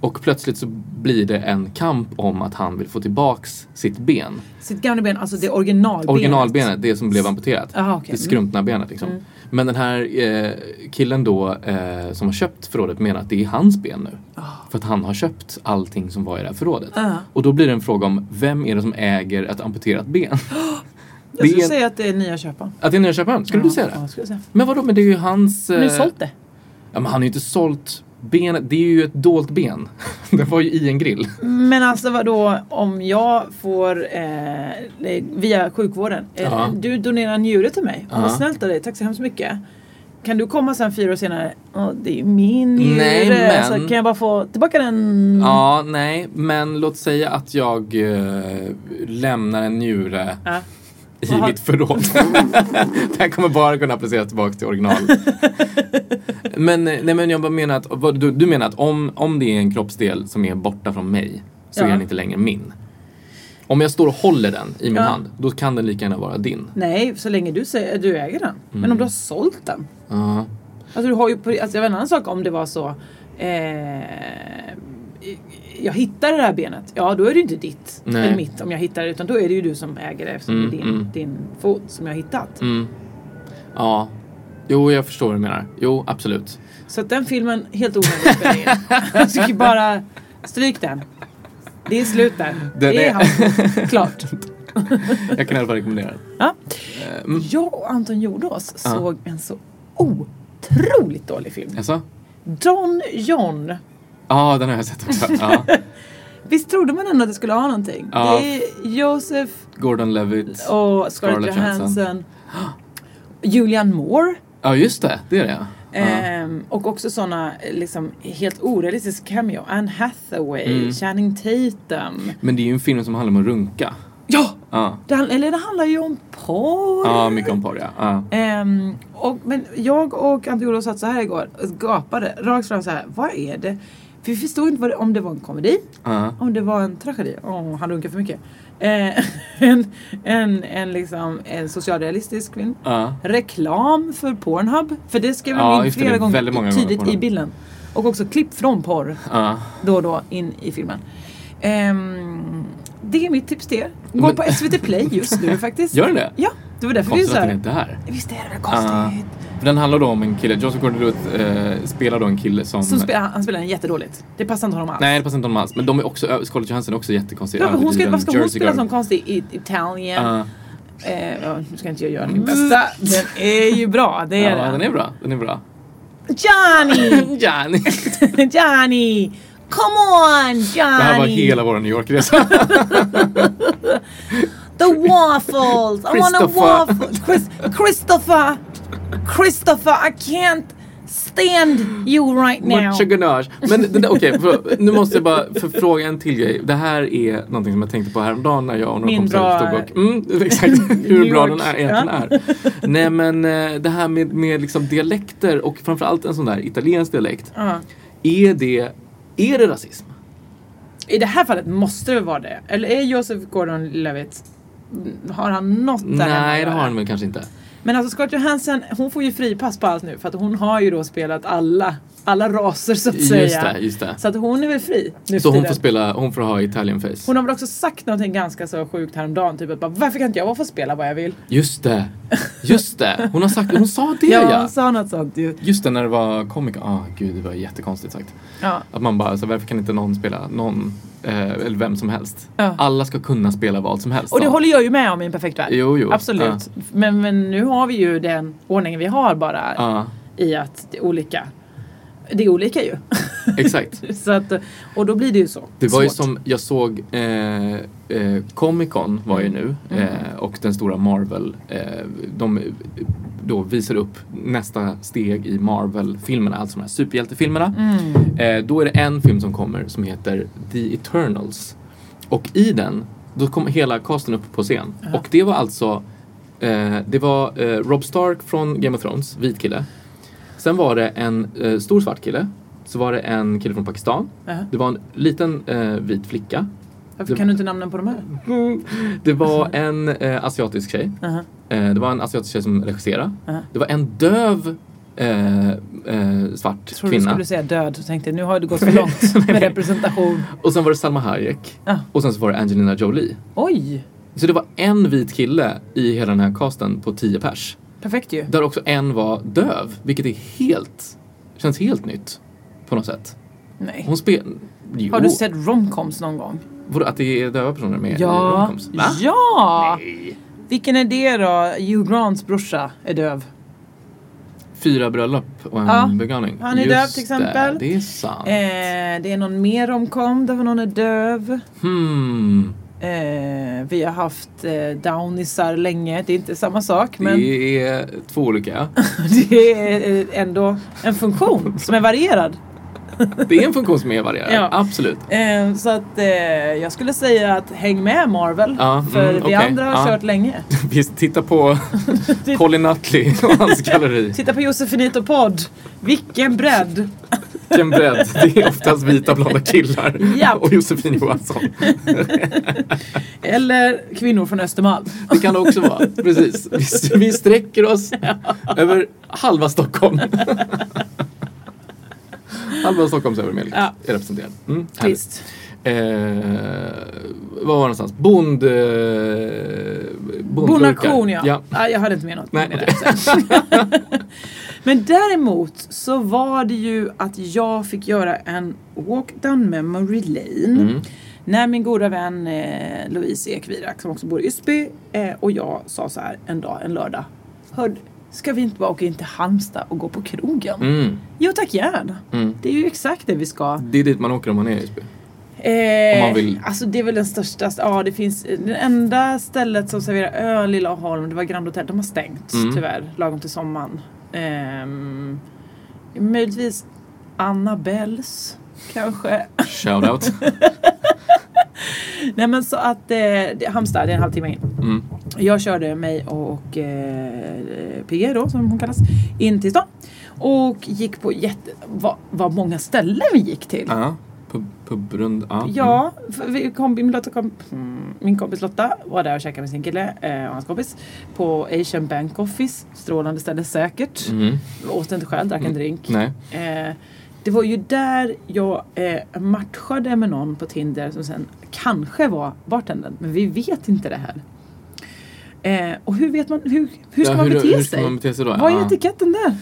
Speaker 2: Och plötsligt så blir det en kamp om att han vill få tillbaks sitt ben.
Speaker 1: Sitt gamla ben, alltså det originalbenet.
Speaker 2: Originalbenet, det som blev amputerat.
Speaker 1: Aha, okej. Mm.
Speaker 2: Det skrumpna benet liksom. Men den här eh, killen då eh, som har köpt förrådet menar att det är hans ben
Speaker 1: Ah.
Speaker 2: nu. För att han har köpt allting som var i det här förrådet. Och då blir det en fråga om vem är det som äger ett amputerat ben?
Speaker 1: Jag skulle
Speaker 2: Det är-
Speaker 1: säga att det är nya köparen.
Speaker 2: att det är nya köparen? Skulle du säga
Speaker 1: Ja,
Speaker 2: det?
Speaker 1: jag skulle säga.
Speaker 2: Men vadå, men det är ju hans...
Speaker 1: Nu
Speaker 2: eh,
Speaker 1: sålt det.
Speaker 2: Ja, men han har ju inte sålt benet. Det är ju ett dolt ben. det var ju i en grill.
Speaker 1: Men alltså vadå om jag får eh, via sjukvården. Eh,
Speaker 2: Ja.
Speaker 1: Du donerar en njure till mig. Ja.
Speaker 2: Ja.
Speaker 1: Vad snällt av dig. Tack så hemskt mycket. Kan du komma sen fyra år senare? "Ja, det är ju min njure.
Speaker 2: Nej, men-
Speaker 1: Alltså, kan jag bara få tillbaka den?
Speaker 2: Ja, nej, men låt säga att jag eh, lämnar en njure
Speaker 1: Ja.
Speaker 2: i
Speaker 1: Vad har-
Speaker 2: mitt förråd. Den kommer bara kunna placeras tillbaka till original. men, eh, nej, men jag bara menar att, vad, du, du menar att om, om det är en kroppsdel som är borta från mig så
Speaker 1: Ja.
Speaker 2: är den inte längre min. Om jag står och håller den i min
Speaker 1: Ja.
Speaker 2: hand, då kan den lika gärna vara din.
Speaker 1: Nej, så länge du säger du äger den. Men
Speaker 2: Mm.
Speaker 1: om du har sålt den?
Speaker 2: Ja.
Speaker 1: Alltså, du har ju, på- alltså, det var en annan sak om det var så. Eh, jag hittade det här benet. Ja, då är det ju inte ditt
Speaker 2: Nej.
Speaker 1: eller mitt om jag hittar det. Utan då är det ju du som äger det eftersom det är din,
Speaker 2: Mm, mm.
Speaker 1: din fot som jag har hittat.
Speaker 2: ja. Jo, jag förstår vad du menar. Jo, absolut.
Speaker 1: Så att den filmen, helt onödig att spela in. Jag tycker bara Stryk den. Det är slut där.
Speaker 2: Den
Speaker 1: det
Speaker 2: är-
Speaker 1: är hans. Klart.
Speaker 2: Jag kan i alla fall rekommendera den.
Speaker 1: Ja.
Speaker 2: mm.
Speaker 1: Jag och Anton Jordås såg en så otroligt dålig film.
Speaker 2: Jaså?
Speaker 1: Don John.
Speaker 2: Ja, den har jag sett också. Ja.
Speaker 1: Visst trodde man ändå att det skulle ha någonting?
Speaker 2: Ja.
Speaker 1: Det är Josef
Speaker 2: Gordon Levitt.
Speaker 1: och Scarlett,
Speaker 2: Scarlett
Speaker 1: Johansson.
Speaker 2: Johansson.
Speaker 1: Julian Moore.
Speaker 2: Ja, just det. Det är det ja. ja.
Speaker 1: Ehm, och också sådana liksom, helt orealistiska cameo. Anne Hathaway,
Speaker 2: Mm.
Speaker 1: Channing Tatum.
Speaker 2: Men det är ju en film som handlar om att runka.
Speaker 1: Ja!
Speaker 2: Ja,
Speaker 1: Det, handl- eller det handlar ju om porr.
Speaker 2: ja mycket om porr ja. ja.
Speaker 1: Ehm, och, men jag och Ante Olof satt så här igår och gapade rakt fram så här. Vad är det? För vi förstod inte vad det, om det var en komedi,
Speaker 2: Ja.
Speaker 1: om det var en tragedi. Åh, han runkar för mycket. Eh, en, en, en, liksom, en socialrealistisk film.
Speaker 2: Ja.
Speaker 1: Reklam för Pornhub. För det skrev de
Speaker 2: Ja,
Speaker 1: in
Speaker 2: just det,
Speaker 1: flera
Speaker 2: det är
Speaker 1: gånger,
Speaker 2: väldigt många gånger
Speaker 1: tidigt i
Speaker 2: Pornhub.
Speaker 1: bilden. Och också klipp från porr
Speaker 2: ja.
Speaker 1: då och då in i filmen. Ehm, det är mitt tips till er. Gå
Speaker 2: Men-
Speaker 1: på SVT Play just nu faktiskt.
Speaker 2: Gör den det?
Speaker 1: Ja, det var därför vi
Speaker 2: Konstigt
Speaker 1: sa
Speaker 2: att Ah. den
Speaker 1: det.
Speaker 2: är där.
Speaker 1: Visst är det väl
Speaker 2: Ja.
Speaker 1: konstigt?
Speaker 2: För den handlar då om en kille, Joseph Gordon-Levitt eh, spelar då en kille som...
Speaker 1: Som spel, han han spelar den jättedåligt. Det passar inte honom alls.
Speaker 2: Nej, det passar inte honom alls. Men de är också, ö- Scarlett Johansson är också jättekonstig.
Speaker 1: Varför, hon ska,
Speaker 2: överdriven
Speaker 1: varför ska hon
Speaker 2: Jersey Ah.
Speaker 1: spela
Speaker 2: girl.
Speaker 1: som konstig i Italien?
Speaker 2: Ja.
Speaker 1: Eh, ja, nu ska inte jag göra min bästa. Den är ju bra, det Mm. är
Speaker 2: Mm. Ja, den
Speaker 1: den.
Speaker 2: är bra. Den är bra.
Speaker 1: Johnny!
Speaker 2: Johnny!
Speaker 1: Johnny! Come on
Speaker 2: Det här var
Speaker 1: Johnny!
Speaker 2: hela vår New York-resa.
Speaker 1: The waffles! I want a
Speaker 2: Christopher.
Speaker 1: waffle! Chris, Christopher! Christopher, I can't stand you right now!
Speaker 2: Mucha ganache. Men den där- okej, för- nu måste jag bara för fråga en till grej. Det här är någonting som jag tänkte på häromdagen när jag och några
Speaker 1: Min
Speaker 2: kompisar
Speaker 1: bra-
Speaker 2: stod och... Mm, exakt, hur
Speaker 1: New
Speaker 2: bra
Speaker 1: York.
Speaker 2: den är, egentligen är. Nej men eh, det här med, med liksom dialekter och framförallt en sån där italiensk dialekt.
Speaker 1: Ja.
Speaker 2: Är det, är det rasism?
Speaker 1: I det här fallet måste det vara det. Eller är Joseph Gordon-Levitt... Har han något där hemma att
Speaker 2: Nej, det
Speaker 1: göra?
Speaker 2: har han väl kanske inte.
Speaker 1: Men alltså Scarlett Johansson, hon får ju fripass på allt nu för att hon har ju då spelat alla, alla raser så att
Speaker 2: Just
Speaker 1: säga.
Speaker 2: det, just det.
Speaker 1: Så att hon är väl fri nu
Speaker 2: Så
Speaker 1: för
Speaker 2: hon
Speaker 1: tiden.
Speaker 2: får spela, hon får ha Italian face.
Speaker 1: Hon har väl också sagt någonting ganska så sjukt häromdagen, typ att bara, varför kan inte jag få spela vad jag vill?
Speaker 2: Just det, just det. Hon har sagt, hon sa det
Speaker 1: Ja,
Speaker 2: ja.
Speaker 1: hon sa något sånt ju.
Speaker 2: Just det, när det var komiker. Ah, gud, det var jättekonstigt sagt.
Speaker 1: Ja.
Speaker 2: Att man bara, så varför kan inte någon spela någon, eh, eller vem som helst?
Speaker 1: Ja.
Speaker 2: Alla ska kunna spela vad som helst.
Speaker 1: Och det
Speaker 2: sa hon.
Speaker 1: håller jag ju med om i en perfekt värld.
Speaker 2: Jo, jo.
Speaker 1: Absolut. Men, men nu har vi ju den ordningen vi har bara
Speaker 2: Ja,
Speaker 1: i att det är olika. Det är olika ju.
Speaker 2: exakt.
Speaker 1: så att, och då blir det ju så.
Speaker 2: Det var ju
Speaker 1: Svårt.
Speaker 2: som jag såg, eh, eh, Comic Con var ju
Speaker 1: Mm.
Speaker 2: nu eh, och den stora Marvel, eh, de eh, då visar upp nästa steg i Marvel-filmerna, alltså de här superhjältefilmerna.
Speaker 1: Mm.
Speaker 2: Eh, då är det en film som kommer som heter The Eternals. Och i den, då kom hela casten upp på scen. Och det var alltså, eh, det var eh, Rob Stark från Game of Thrones, vit kille. Sen var det en eh, stor svart kille. Så var det en kille från Pakistan.
Speaker 1: Jaha.
Speaker 2: Det var en liten eh, vit flicka.
Speaker 1: Varför kan du inte namnen på de
Speaker 2: Mm.
Speaker 1: här?
Speaker 2: Det var en eh, asiatisk tjej.
Speaker 1: Aha.
Speaker 2: Eh, det var en asiatisk tjej som regisserade. Det var en döv eh, eh, svart
Speaker 1: Jag trodde du
Speaker 2: kvinna.
Speaker 1: skulle säga död och tänkte nu har det gått för långt med representation.
Speaker 2: Och sen var det Salma Hayek.
Speaker 1: Ja.
Speaker 2: Och sen så var det Angelina Jolie.
Speaker 1: Oj!
Speaker 2: Så det var en vit kille i hela den här casten på 10 pers.
Speaker 1: Perfekt ju.
Speaker 2: Där också en var döv, vilket är helt, känns helt nytt. På något sätt.
Speaker 1: Nej.
Speaker 2: Hon spel... Jo,
Speaker 1: Har du sett romcoms någon gång?
Speaker 2: Vadå, att det är döva personer med i
Speaker 1: Ja.
Speaker 2: romcoms? Va?
Speaker 1: Ja! Vilken är det då? Hugh Grants brorsa är döv.
Speaker 2: Fyra bröllop och en
Speaker 1: Ja.
Speaker 2: begravning.
Speaker 1: Han är
Speaker 2: Just
Speaker 1: döv till exempel.
Speaker 2: Det, det är sant.
Speaker 1: Eh, det är någon mer romcom där någon är döv.
Speaker 2: Hmm.
Speaker 1: Eh, vi har haft eh, downisar länge. Det är inte samma sak
Speaker 2: Det
Speaker 1: men
Speaker 2: är två olika.
Speaker 1: det är eh, ändå en funktion som är varierad.
Speaker 2: Det är en funktion som är varierad,
Speaker 1: Ja.
Speaker 2: absolut.
Speaker 1: Eh, så att eh, jag skulle säga att häng med Marvel.
Speaker 2: Ja,
Speaker 1: för
Speaker 2: mm,
Speaker 1: vi
Speaker 2: okej.
Speaker 1: andra har
Speaker 2: Ja.
Speaker 1: kört länge.
Speaker 2: Visst, titta på Colin Nutley och hans galleri.
Speaker 1: Titta på Josefinito podd. Vilken bredd!
Speaker 2: Vilken bredd. Det är oftast vita blonda killar
Speaker 1: Ja.
Speaker 2: och Josefin Johansson.
Speaker 1: Eller kvinnor från Östermalm.
Speaker 2: Det kan det också vara. Precis. Vi, vi sträcker oss över halva Stockholm. Halva Stockholms övermedelklass
Speaker 1: Ja.
Speaker 2: är representerad. Mm, härligt.
Speaker 1: Visst.
Speaker 2: Eh, vad var det någonstans? Bond... Eh, bondlurkar.
Speaker 1: Bonaktion ja. ja.
Speaker 2: ja.
Speaker 1: jag hade inte med något
Speaker 2: Nej,
Speaker 1: med
Speaker 2: okej.
Speaker 1: det. Men däremot så var det ju att jag fick göra en walk down memory lane.
Speaker 2: Mm.
Speaker 1: När min goda vän eh, Louise Ekvirak som också bor i Ysby eh, och jag sa så här en dag, en lördag. Hörd, ska vi inte bara åka in till Halmstad och gå på krogen?
Speaker 2: Mm.
Speaker 1: Jo tack gärna. Det är ju exakt det vi ska.
Speaker 2: Det är dit man åker om man är i Visby.
Speaker 1: Eh,
Speaker 2: Om man vill.
Speaker 1: Alltså det är väl den största, ja det finns, det enda stället som serverar öl i Laholm, det var Grand Hotel, de har stängt
Speaker 2: Mm.
Speaker 1: tyvärr, lagom till sommaren. Ehm, möjligtvis Annabells kanske.
Speaker 2: Shoutout.
Speaker 1: Nej men så att, eh, det- Halmstad, det är en halvtimme in.
Speaker 2: Mm.
Speaker 1: Jag körde mig och eh, PG då, som hon kallas, in till stan. Och gick på jätte, vad, vad många ställen vi gick till.
Speaker 2: Ja. Pub, pubrund. Ja. Mm.
Speaker 1: Ja, för vi kom, min, Lotta kom, mm, min kompis Lotta var där och käkade med sin kille eh, och hans kompis på Asian Bank Office. Strålande ställe säkert.
Speaker 2: Mm.
Speaker 1: Åt inte själv, drack en drink.
Speaker 2: Nej.
Speaker 1: Eh, det var ju där jag eh, matchade med någon på Tinder som sen kanske var bartendern. Men vi vet inte det här. Eh, och hur vet man, hur, hur ska
Speaker 2: Ja,
Speaker 1: man
Speaker 2: hur-
Speaker 1: bete
Speaker 2: hur
Speaker 1: sig?
Speaker 2: ska man bete sig då?
Speaker 1: Vad är
Speaker 2: Ja.
Speaker 1: etiketten där?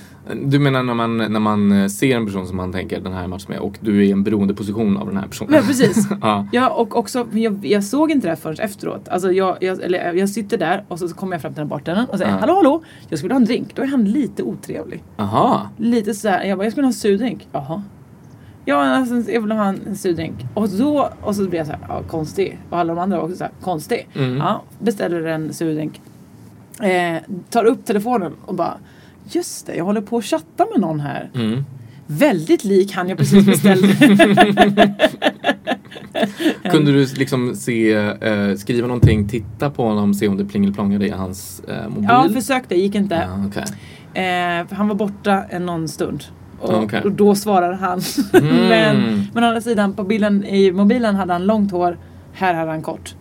Speaker 2: Du menar när man, när man eh, ser en person som man tänker den här matchen med och du är i en beroendeposition av den här personen.
Speaker 1: Ja, precis.
Speaker 2: ja.
Speaker 1: Ja, och också, men jag, jag såg inte det här förrän efteråt. Alltså jag, jag, eller jag sitter där och så kommer jag fram till den här bartendern och säger
Speaker 2: Ja.
Speaker 1: Hallå hallå, jag skulle ha en drink. Då är han lite otrevlig.
Speaker 2: Aha.
Speaker 1: Lite sådär, jag bara, jag skulle ha en surdrink. Jaha. Ja, alltså, jag vill ha en, en surdrink. Och, då, och så blir jag så här, ja, konstig. Och alla de andra var också så här, konstig.
Speaker 2: Mm.
Speaker 1: Ja, beställer en surdrink. Eh, tar upp telefonen och bara, just det, jag håller på att chatta med någon här.
Speaker 2: Mm.
Speaker 1: Väldigt lik han jag precis beställde.
Speaker 2: Kunde du liksom se, eh, skriva någonting, titta på honom, se om det plingelplångade i hans eh, mobil?
Speaker 1: ja, försökte, gick inte.
Speaker 2: Ja, okej.
Speaker 1: Eh, för han var borta en någon stund. Och,
Speaker 2: Ah, Okej.
Speaker 1: och då svarade han.
Speaker 2: Mm.
Speaker 1: men, men å andra sidan, på bilden i mobilen hade han långt hår. Här hade han kort.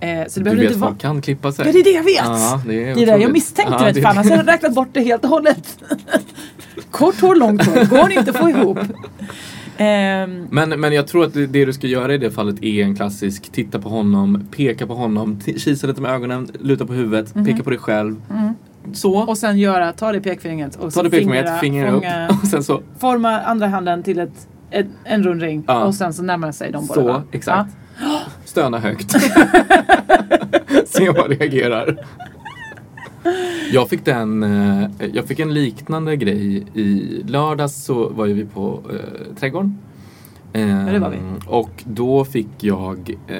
Speaker 1: Eh, så det
Speaker 2: Du
Speaker 1: behövde inte
Speaker 2: vet,
Speaker 1: vara...
Speaker 2: folk kan klippa sig.
Speaker 1: Ja, det är det jag vet!
Speaker 2: Ja, Ah, det är
Speaker 1: det är det jag
Speaker 2: otroligt.
Speaker 1: misstänkte.
Speaker 2: Ja,
Speaker 1: vet
Speaker 2: det-
Speaker 1: fan. Alltså, jag hade räknat bort det helt och hållet. kort hår, långt hår. Går inte att få ihop. Ehm,
Speaker 2: Men, men jag tror att det, det du ska göra i det fallet är en klassisk titta på honom, peka på honom, t- kisa lite med ögonen, luta på huvudet,
Speaker 1: Mhm.
Speaker 2: peka på dig själv.
Speaker 1: Mm.
Speaker 2: Så,
Speaker 1: och sen göra, ta det i pekfingret och
Speaker 2: ta
Speaker 1: så
Speaker 2: det pekfingret, fingrar upp
Speaker 1: fånga-
Speaker 2: och sen så.
Speaker 1: forma andra handen till ett, ett, en rund ring
Speaker 2: Ja.
Speaker 1: och sen så närmar sig de båda. Ah.
Speaker 2: Ah. Så,
Speaker 1: varandra.
Speaker 2: exakt. Stöna högt. Se vad reagerar. Jag fick, den, eh, jag fick en liknande grej i lördags så var ju vi på eh, trädgården. Eh,
Speaker 1: det var vi.
Speaker 2: Och då fick jag, eh,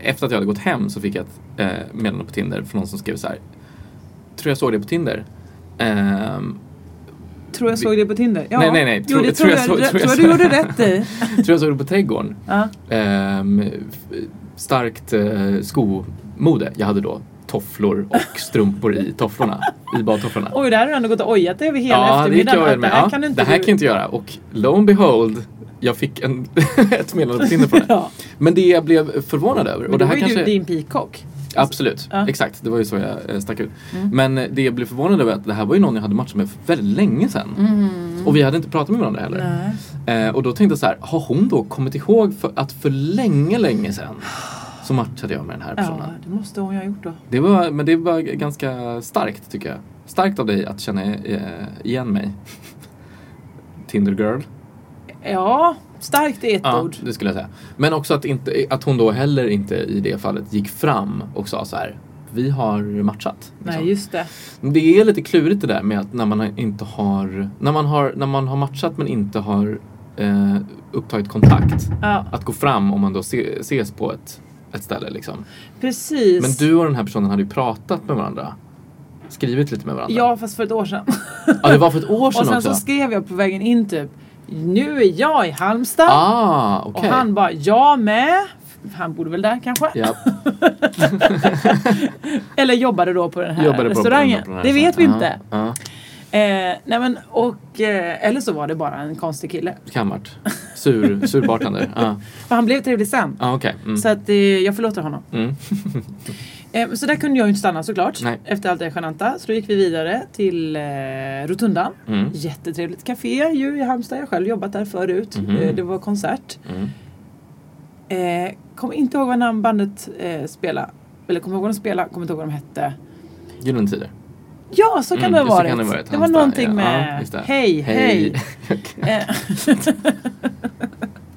Speaker 2: efter att jag hade gått hem så fick jag ett eh, meddelande på Tinder från någon som skrev så här. Tror jag såg det på Tinder. Ehm,
Speaker 1: Ja. Tror jag såg det på Tinder. Ja.
Speaker 2: Nej, nej, nej.
Speaker 1: Jo,
Speaker 2: Tror-
Speaker 1: det
Speaker 2: tror
Speaker 1: tror
Speaker 2: jag
Speaker 1: jag,
Speaker 2: såg-
Speaker 1: jag,
Speaker 2: tror
Speaker 1: tror
Speaker 2: jag
Speaker 1: jag du
Speaker 2: såg.
Speaker 1: gjorde rätt i.
Speaker 2: tror jag såg det på trädgården.
Speaker 1: Ja.
Speaker 2: Ehm, f- starkt eh, skomode. Jag hade då tofflor och strumpor i tofflorna. I badtofflorna.
Speaker 1: Oj, där har du ändå gått och ojat dig över hela
Speaker 2: det gick
Speaker 1: eftermiddagen.
Speaker 2: jag
Speaker 1: att
Speaker 2: väl med.
Speaker 1: Det här
Speaker 2: Ja,
Speaker 1: kan du inte
Speaker 2: det här
Speaker 1: du...
Speaker 2: kan jag inte göra. Och lo and behold, jag fick en, ett meddelande på Tinder på det.
Speaker 1: Ja.
Speaker 2: Men det jag blev förvånad över.
Speaker 1: Men
Speaker 2: Och
Speaker 1: det
Speaker 2: det
Speaker 1: var
Speaker 2: här
Speaker 1: ju du
Speaker 2: kanske...
Speaker 1: din peacock.
Speaker 2: Absolut,
Speaker 1: Ja. Mm.
Speaker 2: exakt. Det var ju så jag eh, stack ut. Men eh, det jag blev förvånad över är att det här var ju någon jag hade matchat med för väldigt länge sedan.
Speaker 1: Mm.
Speaker 2: Och vi hade inte pratat med varandra heller. Eh, och då tänkte jag så här, har hon då kommit ihåg för att för länge, länge sedan så matchade jag med den här personen?
Speaker 1: Ja, det måste hon ju ha gjort då.
Speaker 2: Det var, men det var g- ganska starkt tycker jag. Starkt av dig att känna eh, igen mig. Tinder girl.
Speaker 1: Ja, starkt är ett
Speaker 2: Ja, liksom.
Speaker 1: ord.
Speaker 2: det skulle jag säga. Men också att, inte, att hon då heller inte i det fallet gick fram och sa så här. Vi har matchat.
Speaker 1: Nej,
Speaker 2: liksom.
Speaker 1: just det.
Speaker 2: Det är lite klurigt det där med att när man inte har, när man har, när man har matchat men inte har eh, upptagit kontakt.
Speaker 1: Ja,
Speaker 2: Att gå fram om man då se, ses på ett, ett ställe liksom.
Speaker 1: precis.
Speaker 2: Men du och den här personen hade ju pratat med varandra. Skrivit lite med varandra.
Speaker 1: Ja, fast för ett år sedan.
Speaker 2: Ja, det var för ett år
Speaker 1: och
Speaker 2: sedan
Speaker 1: sen
Speaker 2: också.
Speaker 1: så skrev jag på vägen in typ Nu är jag i Halmstad.
Speaker 2: Ah,
Speaker 1: Och
Speaker 2: okej.
Speaker 1: han bara, jag med. Han bodde väl där kanske.
Speaker 2: Ja.
Speaker 1: Eller jobbade då på den här
Speaker 2: Jobbade på-
Speaker 1: restaurangen.
Speaker 2: på den här
Speaker 1: det vet vi
Speaker 2: restaurangen. Ah.
Speaker 1: inte.
Speaker 2: Ja, ja.
Speaker 1: Eh, nej men, och, eh, eller så var det bara en konstig kille.
Speaker 2: Det kan ha varit. Sur, sur bartender. Ja,
Speaker 1: För han blev trevlig sen.
Speaker 2: ah, okej. Mm.
Speaker 1: Så att, eh, jag förlåter honom.
Speaker 2: Mm.
Speaker 1: Eh, så där kunde jag ju inte stanna såklart.
Speaker 2: Nej.
Speaker 1: Efter allt det genanta. Så då gick vi vidare till eh, Rotundan.
Speaker 2: Mm.
Speaker 1: Jättetrevligt café ju i Halmstad. Jag har själv jobbat där förut.
Speaker 2: Mhm.
Speaker 1: Eh, det var konsert.
Speaker 2: Mm.
Speaker 1: Eh, kommer inte ihåg vad namn bandet eh, spelade. Eller kommer ihåg vad de spelade, kommer inte ihåg vad de hette.
Speaker 2: Gyllene Tider.
Speaker 1: Ja, så kan
Speaker 2: Mm,
Speaker 1: det ha
Speaker 2: så
Speaker 1: varit.
Speaker 2: kan det ha
Speaker 1: det var
Speaker 2: Hans där,
Speaker 1: någonting
Speaker 2: ja. Ja,
Speaker 1: med
Speaker 2: just det.
Speaker 1: hej, hej. Eh,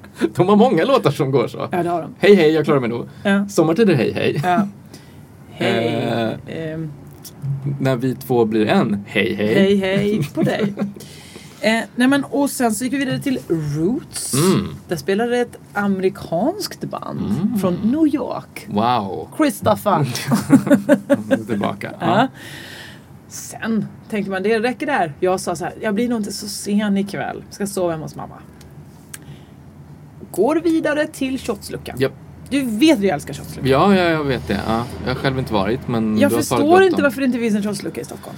Speaker 2: De har många låtar som går så.
Speaker 1: ja, det har de.
Speaker 2: Hej hej, jag klarar mig nog.
Speaker 1: Ja.
Speaker 2: Sommartider hej hej.
Speaker 1: Ja. Hej,
Speaker 2: Eh,
Speaker 1: ehm,
Speaker 2: När vi två blir en. Hej hej.
Speaker 1: hej, hej på dig. Eh, nej men, och sen så gick vi vidare till Roots.
Speaker 2: Mm.
Speaker 1: Där spelade ett amerikanskt band från New York.
Speaker 2: Wow.
Speaker 1: Christopher.
Speaker 2: Mm. Nu är vi Tillbaka.
Speaker 1: Ja.
Speaker 2: Ja.
Speaker 1: Sen tänkte man, det räcker där. Jag sa så här, jag blir nog inte så sen ikväll. Ska sova hemma hos mamma. Går vidare till shotsluckan.
Speaker 2: Japp.
Speaker 1: Du vet att jag älskar shotsluckan.
Speaker 2: Ja, ja, jag vet det. Ja. Jag har själv inte varit, men
Speaker 1: Jag
Speaker 2: du har svarat
Speaker 1: förstår
Speaker 2: gott
Speaker 1: inte
Speaker 2: om.
Speaker 1: varför det inte finns en shotslucka i Stockholm.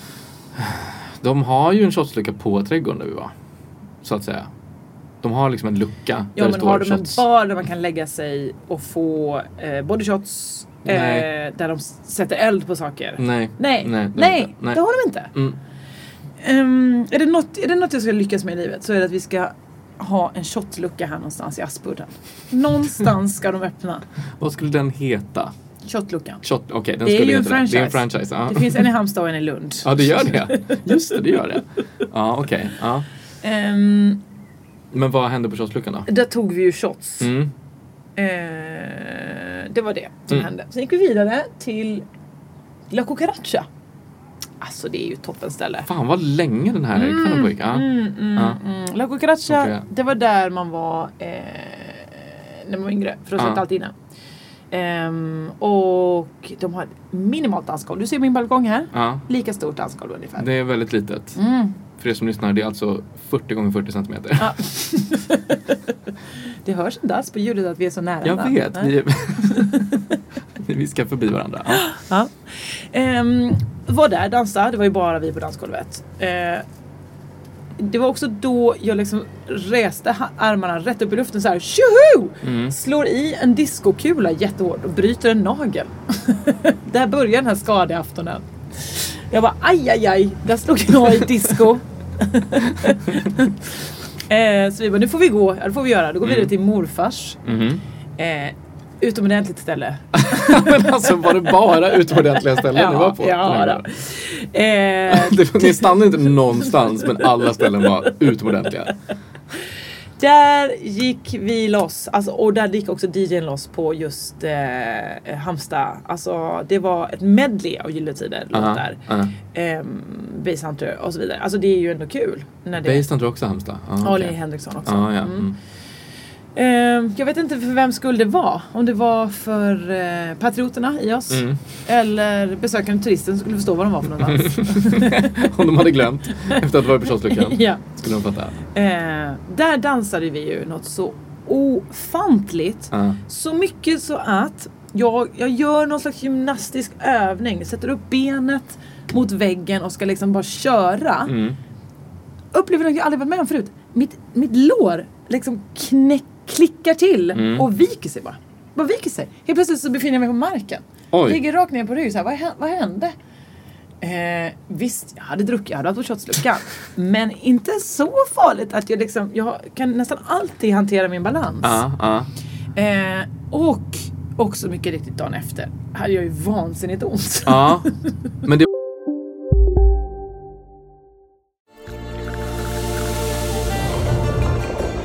Speaker 2: De har ju en shotslucka på trädgården där vi var. Så att säga. De har liksom en lucka
Speaker 1: Ja
Speaker 2: där det
Speaker 1: men
Speaker 2: står
Speaker 1: har de en
Speaker 2: shots.
Speaker 1: bar där man kan lägga sig och få eh, body shots eh,
Speaker 2: Nej.
Speaker 1: där de s- sätter eld på saker?
Speaker 2: Nej.
Speaker 1: Nej,
Speaker 2: Nej,
Speaker 1: nej,
Speaker 2: de inte. Nej.
Speaker 1: det har de inte.
Speaker 2: Mm.
Speaker 1: Ehm, är, det något, är det något jag ska lyckas med i livet så är det att vi ska ha en shotlucka här någonstans i Aspudden. Någonstans ska de öppna
Speaker 2: Vad skulle den heta?
Speaker 1: shotluckan.
Speaker 2: Shot... Okej, den
Speaker 1: Det är
Speaker 2: skulle
Speaker 1: ju en
Speaker 2: heta det. Det är en
Speaker 1: franchise.
Speaker 2: franchise. Ja.
Speaker 1: Det finns en i Halmstad och en i Lund.
Speaker 2: ja, det gör det. Just det, det gör det. Ja, okej. Ja.
Speaker 1: Ehm,
Speaker 2: Men vad hände på shotsluckan då?
Speaker 1: där tog vi ju shots.
Speaker 2: Mm.
Speaker 1: Eh, det var det som
Speaker 2: Mm.
Speaker 1: hände. Sen gick vi vidare till La Cucaracha. Alltså det är ju toppenställe.
Speaker 2: Fan vad länge den här kvällen pågick. Ja.
Speaker 1: Mm, mm,
Speaker 2: Ja.
Speaker 1: mm. La Cucaracha,
Speaker 2: Okej.
Speaker 1: det var där man var eh, när man var yngre. För då satt
Speaker 2: Ja.
Speaker 1: allt inne. Ehm, och de har ett minimalt dansgolv. Du ser min balkong här.
Speaker 2: Ja.
Speaker 1: Lika stort dansgolv ungefär.
Speaker 2: Ah. Det är väldigt litet.
Speaker 1: Mm.
Speaker 2: För er som lyssnar, det är alltså 40 gånger 40 centimeter.
Speaker 1: Ja. det hörs inte alls på ljudet att vi är så nära
Speaker 2: Jag
Speaker 1: varandra.
Speaker 2: vet.
Speaker 1: Nej.
Speaker 2: Vi, vi ska förbi varandra. Ja.
Speaker 1: Ja. Ehm, var där, dansade. Det var ju bara vi på dansgolvet. Eh, det var också då jag liksom reste ha- armarna rätt upp i luften så här. Tjoho! Slår i en diskokula jättehårt och bryter en nagel. där börjar den här skadeaftonen. Jag bara aj, aj, aj. Där slog jag i disco. eh, så vi bara, nu får vi gå. Ja, det får vi göra. Då går vi vidare till morfars.
Speaker 2: Mhm.
Speaker 1: Eh, utomordentligt ställe.
Speaker 2: Men alltså var det bara utomordentliga ställen ni var på? den
Speaker 1: Ja,
Speaker 2: här
Speaker 1: ja,
Speaker 2: gången?
Speaker 1: då. Eh,
Speaker 2: Det, ni stannade inte någonstans men alla ställen var utomordentliga.
Speaker 1: Där gick vi loss, alltså, och där gick också DJn loss på just eh, Hamsta. Alltså det var ett medley av Gyllene Tider låtar.
Speaker 2: aha.
Speaker 1: Ehm, Base Hunter och så vidare. Alltså det är ju ändå kul. När det
Speaker 2: Based under också Halmstad? Ja,
Speaker 1: Ja,
Speaker 2: okej.
Speaker 1: Lenny Henriksson också.
Speaker 2: Ja, ja.
Speaker 1: Mm.
Speaker 2: Mm.
Speaker 1: Ehm, jag vet inte för vem skulle det vara. Om det var för eh, patrioterna i oss.
Speaker 2: Mm.
Speaker 1: Eller besökande turister som skulle förstå vad de var för någonstans.
Speaker 2: Om de hade glömt efter att ha varit på shotsluckan
Speaker 1: ja.
Speaker 2: skulle de fatta.
Speaker 1: Ehm, där dansade vi ju något så ofantligt.
Speaker 2: Ja.
Speaker 1: Så mycket så att jag, jag gör någon slags gymnastisk övning. Sätter upp benet mot väggen och ska liksom bara köra.
Speaker 2: Mm.
Speaker 1: Upplever något jag aldrig varit med om förut. Mitt, mitt lår liksom knäck, klickar till
Speaker 2: Mm.
Speaker 1: och viker sig bara. Bara viker sig. Helt plötsligt så befinner jag mig på marken.
Speaker 2: Oj.
Speaker 1: Ligger rakt ner på rygg. Så här, vad, hä- vad hände? Eh, visst, jag hade druckit, jag hade varit på shotsluckan. Men inte så farligt att jag liksom, jag kan nästan alltid hantera min balans.
Speaker 2: Ja, ja.
Speaker 1: Eh, och också mycket riktigt dagen efter hade jag ju vansinnigt ont.
Speaker 2: ja. Men det...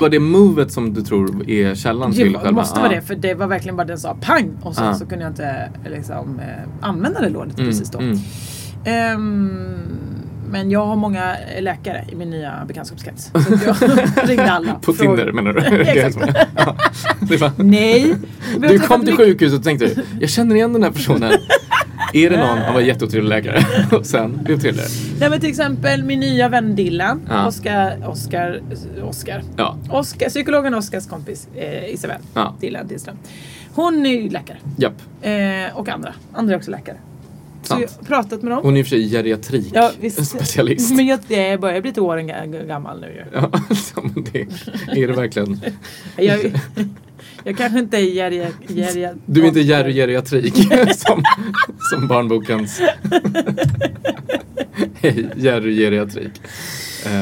Speaker 2: Var det movet som du tror är källan
Speaker 1: Det
Speaker 2: till
Speaker 1: var,
Speaker 2: själva?
Speaker 1: måste vara
Speaker 2: Ja.
Speaker 1: det, för det var verkligen bara den sa pang och sen
Speaker 2: Ja.
Speaker 1: så kunde jag inte eh, liksom, eh, använda det lånet precis då.
Speaker 2: Mm.
Speaker 1: Ehm, Men jag har många läkare i min nya bekantskapskrets. Så att jag ringde alla.
Speaker 2: På
Speaker 1: Fråga-
Speaker 2: Tinder menar du? Det är
Speaker 1: Exakt.
Speaker 2: som är- Ja. Det är bara-
Speaker 1: Nej. Vi har
Speaker 2: Du
Speaker 1: träffat
Speaker 2: kom till
Speaker 1: mycket-
Speaker 2: sjukhuset och tänkte du, jag känner igen den här personen. Är det någon? Han var jätteotrevlig läkare. Och sen blev trevligare.
Speaker 1: Nej men till exempel min nya vän Dylan.
Speaker 2: Ja.
Speaker 1: Oskar, Oskar, Oskar.
Speaker 2: Ja.
Speaker 1: Oskar, psykologen Oskars kompis eh, Isabel.
Speaker 2: Ja.
Speaker 1: Dylan Dyström. Hon är ju läkare.
Speaker 2: Japp.
Speaker 1: Eh, och andra. Andra är också läkare. Så
Speaker 2: Sant.
Speaker 1: jag har pratat med dem.
Speaker 2: Hon är i och för sig geriatrik
Speaker 1: Ja, visst.
Speaker 2: specialist.
Speaker 1: Men jag, jag börjar bli till åren ga- gammal nu ju.
Speaker 2: Ja, alltså, men det är det verkligen.
Speaker 1: Jag, jag kanske inte är geriat... geriat
Speaker 2: Du är inte geri geriatrik som, som barnbokens... Hej, geri geriatrik. Eh,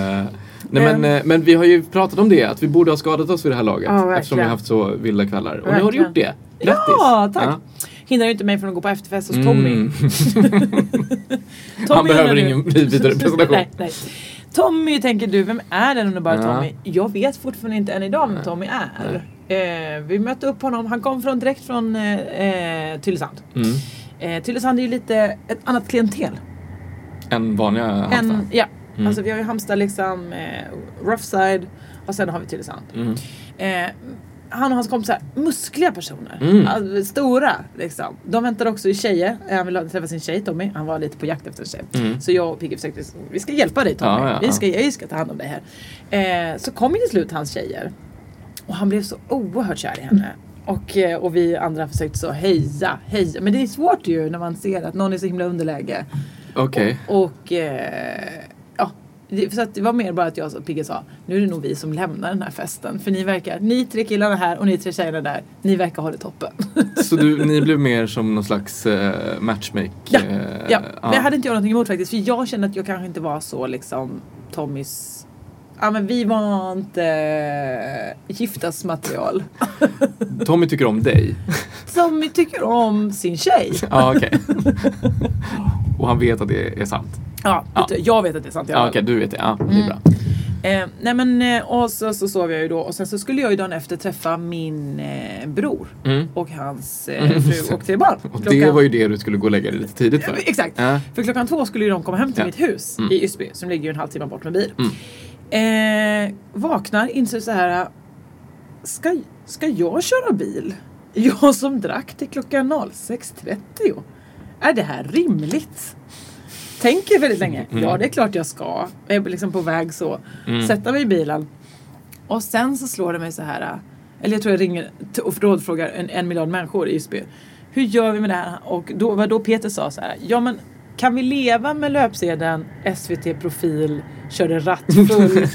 Speaker 2: nej,
Speaker 1: Ehm.
Speaker 2: men, eh, men vi har ju pratat om det, att vi borde ha skadat oss vid det här laget.
Speaker 1: Ja, verkligen.
Speaker 2: eftersom vi har haft så vilda kvällar. Och nu har du
Speaker 1: Verkligen.
Speaker 2: gjort det. Grattis!
Speaker 1: Ja, tack! Hindrar ju inte mig från att gå på efterfest hos Tommy.
Speaker 2: Mm.
Speaker 1: Tommy
Speaker 2: Han behöver
Speaker 1: undrar nu-
Speaker 2: ingen vidare presentation.
Speaker 1: nej, nej. Tommy tänker du, vem är den underbara
Speaker 2: Ja.
Speaker 1: Tommy? Jag vet fortfarande inte än idag vem Tommy är. Eh, vi mötte upp honom, han kom från, direkt från eh, eh, Tylösand.
Speaker 2: Mm.
Speaker 1: Eh, Tylösand är ju lite ett annat klientel.
Speaker 2: En vanliga
Speaker 1: Mm.
Speaker 2: Halmstad.
Speaker 1: En, ja.
Speaker 2: Mm.
Speaker 1: Alltså vi har ju Halmstad, liksom, eh, Roughside och sen har vi Tylösand.
Speaker 2: Mm.
Speaker 1: Eh, han och hans kompisar, muskliga personer.
Speaker 2: Mm.
Speaker 1: Alltså, stora liksom. De väntar också i tjejer. Eh, Han ville träffa sin tjej Tommy. Han var lite på jakt efter en tjej. Så jag och Piggy försökte, vi ska hjälpa dig Tommy.
Speaker 2: Mm. Ja, ja,
Speaker 1: Vi ska, jag ska ta hand om dig här. Eh, så kom ju till slut hans tjejer. Och han blev så oerhört kär i henne. Och, eh, och vi andra försökte så heja, heja. Men det är svårt ju när man ser att någon är så himla underläge.
Speaker 2: Okej.
Speaker 1: Och eh, ja, det, så att det var mer bara att jag och Pigge sa nu är det nog vi som lämnar den här festen. För ni verkar, ni tre killarna här och ni tre tjejerna där, ni verkar ha det toppen.
Speaker 2: Så du, ni blev mer som någon slags eh, matchmake?
Speaker 1: ja,
Speaker 2: eh,
Speaker 1: ja. det hade inte jag någonting emot faktiskt. För jag kände att jag kanske inte var så liksom Tommys Ja men vi var inte eh, giftasmaterial.
Speaker 2: Tommy tycker om dig?
Speaker 1: Tommy tycker om sin tjej.
Speaker 2: Ja, okej. Och han vet att det är sant?
Speaker 1: Ja,
Speaker 2: Ja.
Speaker 1: jag vet att det är sant. i alla
Speaker 2: Ja,
Speaker 1: fall.
Speaker 2: okej, du vet det. Ja,
Speaker 1: Mm.
Speaker 2: det är bra.
Speaker 1: Eh, nej men eh, och så, så sov jag ju då och sen så skulle jag ju dagen efter träffa min eh, bror
Speaker 2: Mm.
Speaker 1: och hans eh, fru och tre barn.
Speaker 2: Och Mm, det
Speaker 1: Klockan-
Speaker 2: var ju det du skulle gå och lägga dig lite tidigt för.
Speaker 1: Exakt!
Speaker 2: Ja.
Speaker 1: För klockan två skulle ju de komma hem till
Speaker 2: Ja. Mm.
Speaker 1: mitt hus i Ysby som ligger ju en halvtimme bort med bil. Eh, vaknar, inser så här ska, ska jag köra bil? Jag som drack till klockan 06.30. Är det här rimligt? Tänker väldigt länge.
Speaker 2: Mm.
Speaker 1: Ja, det är klart jag ska. Jag är liksom på väg så. Sätta mig i bilen. Och sen så slår det mig så här. Eller jag tror jag ringer t- och rådfrågar en, en miljard människor i Ysby. Hur gör vi med det här? Och då, vad då Peter sa så här. Ja men kan vi leva med löpsedeln SVT profil körde rattfull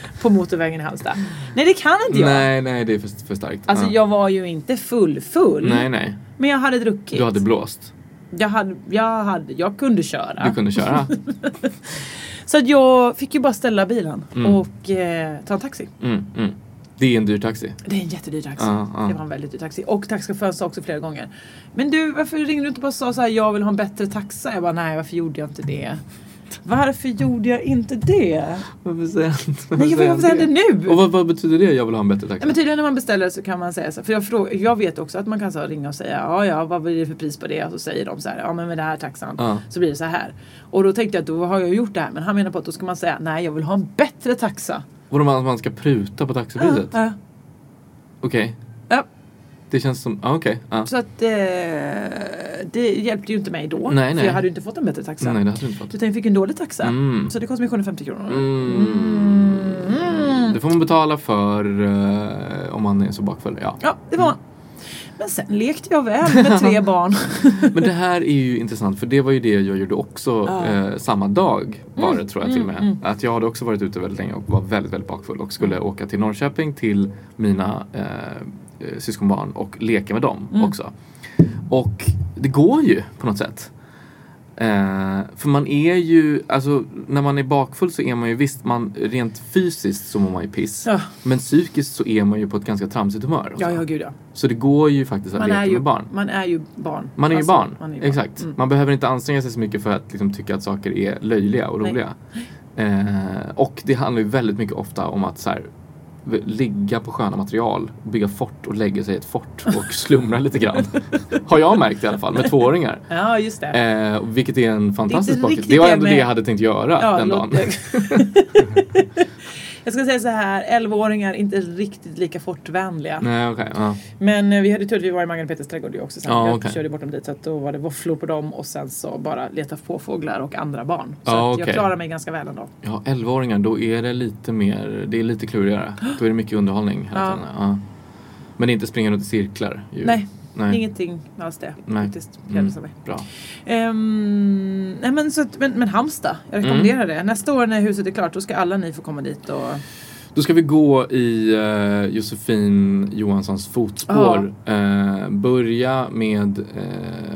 Speaker 1: på motorvägen i Halmstad? Nej det kan inte jag.
Speaker 2: Nej, nej, det är för, för starkt.
Speaker 1: Alltså
Speaker 2: Ja.
Speaker 1: jag var ju inte full full.
Speaker 2: Nej, nej.
Speaker 1: Men jag hade druckit.
Speaker 2: Du hade blåst.
Speaker 1: jag, hade, jag, hade, jag kunde köra.
Speaker 2: Du kunde köra.
Speaker 1: Så att jag fick ju bara ställa bilen och eh, ta en taxi.
Speaker 2: Mm, mm. Det är en dyr taxi.
Speaker 1: Det är en jättedyr taxi.
Speaker 2: Ja, ja.
Speaker 1: Det var en väldigt dyr taxi. Och taxichauffören sa också flera gånger. Men du, varför ringde du inte bara och sa så här, jag vill ha en bättre taxa? Jag bara, nej varför gjorde jag inte det? Varför gjorde jag inte det?
Speaker 2: Varför säger han
Speaker 1: Nej, varför säger han det nu?
Speaker 2: Och vad, vad betyder det? Jag vill ha en bättre
Speaker 1: Nej,
Speaker 2: taxi.
Speaker 1: men tydligen när man beställer så kan man säga så. För jag, frågar, jag vet också att man kan så här ringa och säga ja ja vad blir det för pris på det? Och så säger de så här ja men med det här taxan
Speaker 2: Ja.
Speaker 1: så blir det så här. Och då tänkte jag att då har jag gjort det här. Men han menar på att då ska man säga nej jag vill ha en bättre taxa.
Speaker 2: Vadå, man, man ska pruta på taxipriset?
Speaker 1: Ja,
Speaker 2: Okej.
Speaker 1: ja.
Speaker 2: Det känns som... Ja, okej. Ja.
Speaker 1: Så att eh, det hjälpte ju inte mig då.
Speaker 2: Nej,
Speaker 1: För
Speaker 2: nej.
Speaker 1: jag hade ju inte fått en bättre taxa.
Speaker 2: Mm, Nej, det hade du inte fått.
Speaker 1: Utan jag fick en dålig taxa.
Speaker 2: Mm.
Speaker 1: Så det kostade mig 750 kronor.
Speaker 2: Mm. Det får man betala för eh, om man är så bakfull. Ja.
Speaker 1: Ja, det var Men sen lekte jag väl med tre barn.
Speaker 2: Men det här är ju intressant för det var ju det jag gjorde också eh, samma dag var
Speaker 1: Mm.
Speaker 2: det tror jag till och med. Att jag hade också varit ute väldigt länge och var väldigt, väldigt bakfull och skulle
Speaker 1: Mm.
Speaker 2: åka till Norrköping till mina eh, eh, syskonbarn och leka med dem
Speaker 1: Mm.
Speaker 2: också. Och det går ju på något sätt. Eh, för man är ju, alltså när man är bakfull så är man ju visst, man, rent fysiskt så mår man ju piss.
Speaker 1: Ja.
Speaker 2: Men psykiskt så är man ju på ett ganska tramsigt humör. också.
Speaker 1: ja, ja gud ja.
Speaker 2: Så det går ju faktiskt att
Speaker 1: Man
Speaker 2: leka
Speaker 1: är, ju,
Speaker 2: med barn.
Speaker 1: man är ju barn.
Speaker 2: Man är ju
Speaker 1: Alltså,
Speaker 2: barn.
Speaker 1: man är ju
Speaker 2: Exakt. Man behöver inte anstränga sig så mycket för att liksom, tycka att saker är löjliga och
Speaker 1: Nej.
Speaker 2: roliga. Eh, och det handlar ju väldigt mycket ofta om att så här, v- ligga på sköna material, bygga fort och lägga sig i ett fort och slumra lite grann. Har jag märkt i alla fall med tvååringar.
Speaker 1: Ja, just det.
Speaker 2: Eh, vilket är en fantastisk
Speaker 1: inte
Speaker 2: pocket.
Speaker 1: riktigt
Speaker 2: Det var
Speaker 1: det
Speaker 2: ändå det
Speaker 1: med-
Speaker 2: jag hade tänkt göra
Speaker 1: Ja,
Speaker 2: den
Speaker 1: låt-
Speaker 2: dagen.
Speaker 1: Jag ska säga så här, 11-åringar är inte riktigt lika fortvänliga.
Speaker 2: Nej, okej. ja.
Speaker 1: Men eh, vi hade tur att vi var i Magnus Peters trädgård ju också. Sen
Speaker 2: Ja,
Speaker 1: jag
Speaker 2: okej.
Speaker 1: körde bort dem dit så att då var det våfflor på dem och sen så bara leta på fåglar och andra barn. Så
Speaker 2: Ja,
Speaker 1: att
Speaker 2: okej.
Speaker 1: jag klarar mig ganska väl ändå.
Speaker 2: Ja, 11-åringar, då är det lite mer, det är lite klurigare. Då är det mycket underhållning hela
Speaker 1: Ja.
Speaker 2: tiden. Ja. Men inte springa runt i cirklar. Ju.
Speaker 1: Nej,
Speaker 2: Nej.
Speaker 1: Ingenting alls det
Speaker 2: Nej.
Speaker 1: faktiskt.
Speaker 2: Mm.
Speaker 1: Mm. Mig.
Speaker 2: Bra.
Speaker 1: Ehm, nej men, så att, men, men Halmstad, jag rekommenderar
Speaker 2: Mm.
Speaker 1: det. Nästa år när huset är klart då ska alla ni få komma dit och
Speaker 2: Då ska vi gå i eh, Josefin Johanssons fotspår. Eh, börja med eh,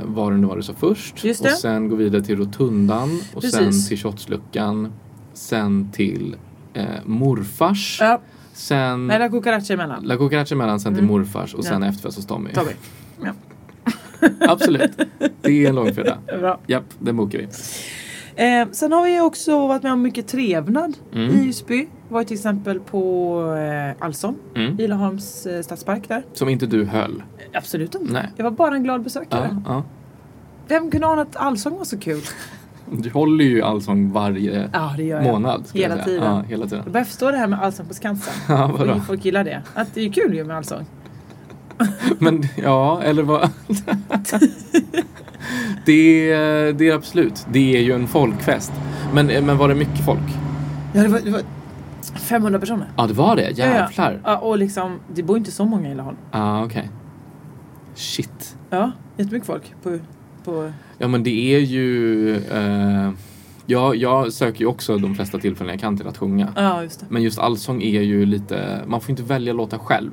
Speaker 2: vad det nu var du sa först.
Speaker 1: Just
Speaker 2: Och
Speaker 1: det.
Speaker 2: sen gå vidare till Rotundan. Och sen
Speaker 1: Precis.
Speaker 2: till Shotsluckan. Sen till eh, morfars.
Speaker 1: Ja.
Speaker 2: Sen
Speaker 1: Nej, det är cucaracha emellan.
Speaker 2: La Cucaracha emellan, sen till morfars och sen efterfest hos Tommy.
Speaker 1: Tommy.
Speaker 2: Absolut. Det är en långfredag.
Speaker 1: Bra.
Speaker 2: Japp, den bokar vi.
Speaker 1: Eh, sen har vi också varit med om mycket trevnad
Speaker 2: Mm.
Speaker 1: i Husby. Var till exempel på eh, Allsång,
Speaker 2: Mm.
Speaker 1: i Laholms eh, stadspark där.
Speaker 2: Som inte du höll.
Speaker 1: Absolut inte.
Speaker 2: Nej.
Speaker 1: Jag var bara en glad
Speaker 2: Ja,
Speaker 1: besökare.
Speaker 2: ja.
Speaker 1: Vem kunde ana att Allsång var så kul?
Speaker 2: Du håller ju Allsång varje
Speaker 1: Ja, det gör jag.
Speaker 2: månad. skulle jag
Speaker 1: Hela
Speaker 2: säga.
Speaker 1: tiden.
Speaker 2: Ja, hela tiden.
Speaker 1: Jag börjar förstå det här med Allsång på Skansen.
Speaker 2: Ja, vadå?
Speaker 1: Och folk gillar det. Att det är kul ju med Allsång.
Speaker 2: Men ja, eller vad? det, är, det är absolut. Det är ju en folkfest. Men, men var det mycket folk?
Speaker 1: Ja, det var, det var 500 personer.
Speaker 2: Ja, det var det.
Speaker 1: Ja, ja.
Speaker 2: Jävlar. Ja,
Speaker 1: Ja, och liksom, det bor inte så många i Laholm.
Speaker 2: ah, okej. Shit.
Speaker 1: Ja, jättemycket folk på, på
Speaker 2: Ja, men det är ju... Eh, ja, jag söker ju också de flesta tillfällen jag kan till att sjunga.
Speaker 1: Ja, just det.
Speaker 2: Men just allsång är ju lite... Man får inte välja låta själv.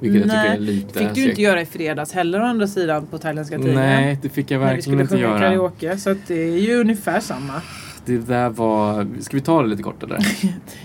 Speaker 2: Vilket jag tycker är lite
Speaker 1: fick du ju
Speaker 2: segt.
Speaker 1: inte göra i fredags heller å andra sidan på thailändska tidningen.
Speaker 2: Nej, det fick jag
Speaker 1: när vi
Speaker 2: verkligen
Speaker 1: skulle
Speaker 2: inte
Speaker 1: sjunga
Speaker 2: göra.
Speaker 1: karaoke. Så att det är ju ungefär samma.
Speaker 2: Det där var... Ska vi ta det lite kort eller?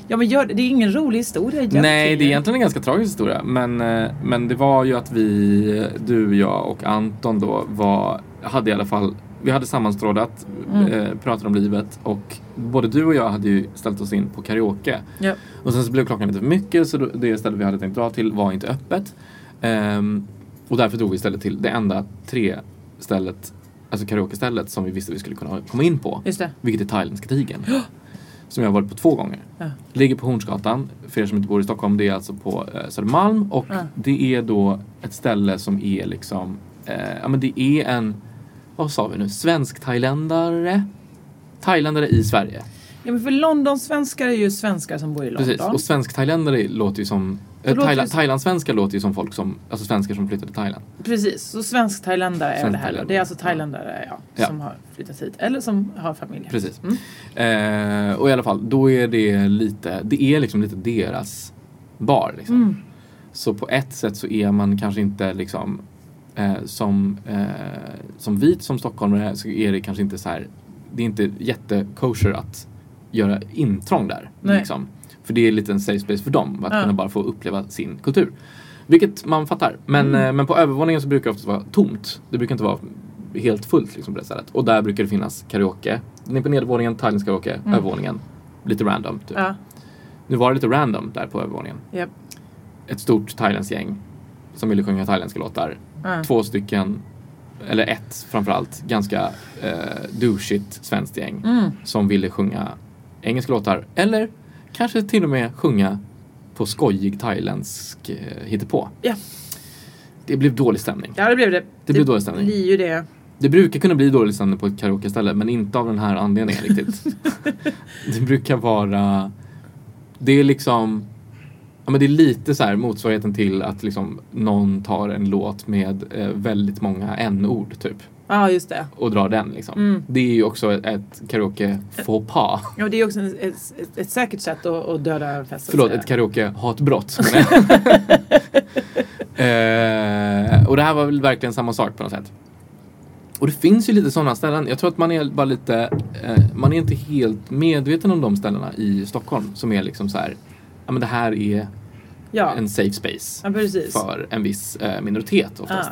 Speaker 1: Ja men gör, det är ingen rolig historia egentligen.
Speaker 2: Nej, det är egentligen en ganska tragisk historia. Men, eh, men det var ju att vi, du, jag och Anton då var, hade i alla fall, vi hade sammanstrådat,
Speaker 1: Mm.
Speaker 2: eh, pratat om livet och både du och jag hade ju ställt oss in på karaoke.
Speaker 1: Ja.
Speaker 2: Och sen så blev klockan lite för mycket så då- det stället vi hade tänkt dra till var inte öppet. Ehm, och därför drog vi istället till det enda tre stället, alltså karaokestället som vi visste vi skulle kunna komma in på.
Speaker 1: Just det.
Speaker 2: Vilket är Thailändska tigern. som jag har varit på två gånger. Ligger på Hornsgatan, för er som inte bor i Stockholm, det är alltså på eh, Södermalm och det är då ett ställe som är liksom, eh, ja men det är en, vad sa vi nu, svensk-thailändare? Thailändare i Sverige.
Speaker 1: Ja, men för Londonsvenskar är ju svenskar som bor i London.
Speaker 2: Precis, och svensk-thailändare låter ju som
Speaker 1: Det
Speaker 2: eh,
Speaker 1: låter
Speaker 2: Thaila-
Speaker 1: ju som-
Speaker 2: Thailandssvenskar låter ju som folk som, alltså svenskar som flyttar till Thailand.
Speaker 1: Precis, så svensk-thailändare är det här. då.
Speaker 2: Svensk-thailändare.
Speaker 1: Det är alltså thailändare ja,
Speaker 2: Ja.
Speaker 1: som har flyttat hit. Eller som har familj.
Speaker 2: Precis.
Speaker 1: Mm.
Speaker 2: Eh, och i alla fall, då är det lite, det är liksom lite deras bar. Liksom.
Speaker 1: Mm.
Speaker 2: Så på ett sätt så är man kanske inte liksom eh, som, eh, som vit som stockholmare så är det kanske inte så här, det är inte jättekosher att göra intrång där.
Speaker 1: Nej.
Speaker 2: Liksom. För det är lite en safe space för dem, att
Speaker 1: Ja.
Speaker 2: kunna bara få uppleva sin kultur. Vilket man fattar. Men,
Speaker 1: Mm.
Speaker 2: eh, men på övervåningen så brukar det oftast vara tomt. Det brukar inte vara helt fullt liksom, på det stället. Och där brukar det finnas karaoke. Den är på nedervåningen, thailändsk karaoke, övervåningen. Lite random. Typ.
Speaker 1: Mm. Ja,
Speaker 2: Nu var det lite random där på övervåningen.
Speaker 1: japp.
Speaker 2: Ett stort thailändskt gäng som ville sjunga thailändska låtar.
Speaker 1: Ja.
Speaker 2: Två stycken, eller ett framförallt, ganska eh, douchigt svenskt gäng
Speaker 1: Mm.
Speaker 2: som ville sjunga engelska låtar. Eller kanske till och med sjunga på skojig thailändsk eh, hittepå.
Speaker 1: Ja.
Speaker 2: Det blev dålig stämning.
Speaker 1: ja, det blev det.
Speaker 2: Det blev dålig stämning.
Speaker 1: blir ju det.
Speaker 2: Det brukar kunna bli dålig stämning på ett karaokeställe men inte av den här anledningen riktigt. det brukar vara... Det är liksom... Ja, men det är lite så här motsvarigheten till att liksom någon tar en låt med eh, väldigt många n-ord typ
Speaker 1: Ja, just det.
Speaker 2: och drar den liksom.
Speaker 1: Mm.
Speaker 2: Det är ju också ett, ett karaoke faux pas.
Speaker 1: Ja, och det är också en, ett, ett, ett säkert sätt att, att döda en fest. så att
Speaker 2: Förlåt,
Speaker 1: säga.
Speaker 2: ett karaoke-hatbrott. menar jag. eh, och det här var väl verkligen samma sak på något sätt. Och det finns ju lite sådana ställen. Jag tror att man är bara lite, eh, man är inte helt medveten om de ställena i Stockholm som är liksom så här, ja men det här är
Speaker 1: ja.
Speaker 2: en safe space
Speaker 1: ja, precis.
Speaker 2: för en viss eh, minoritet oftast.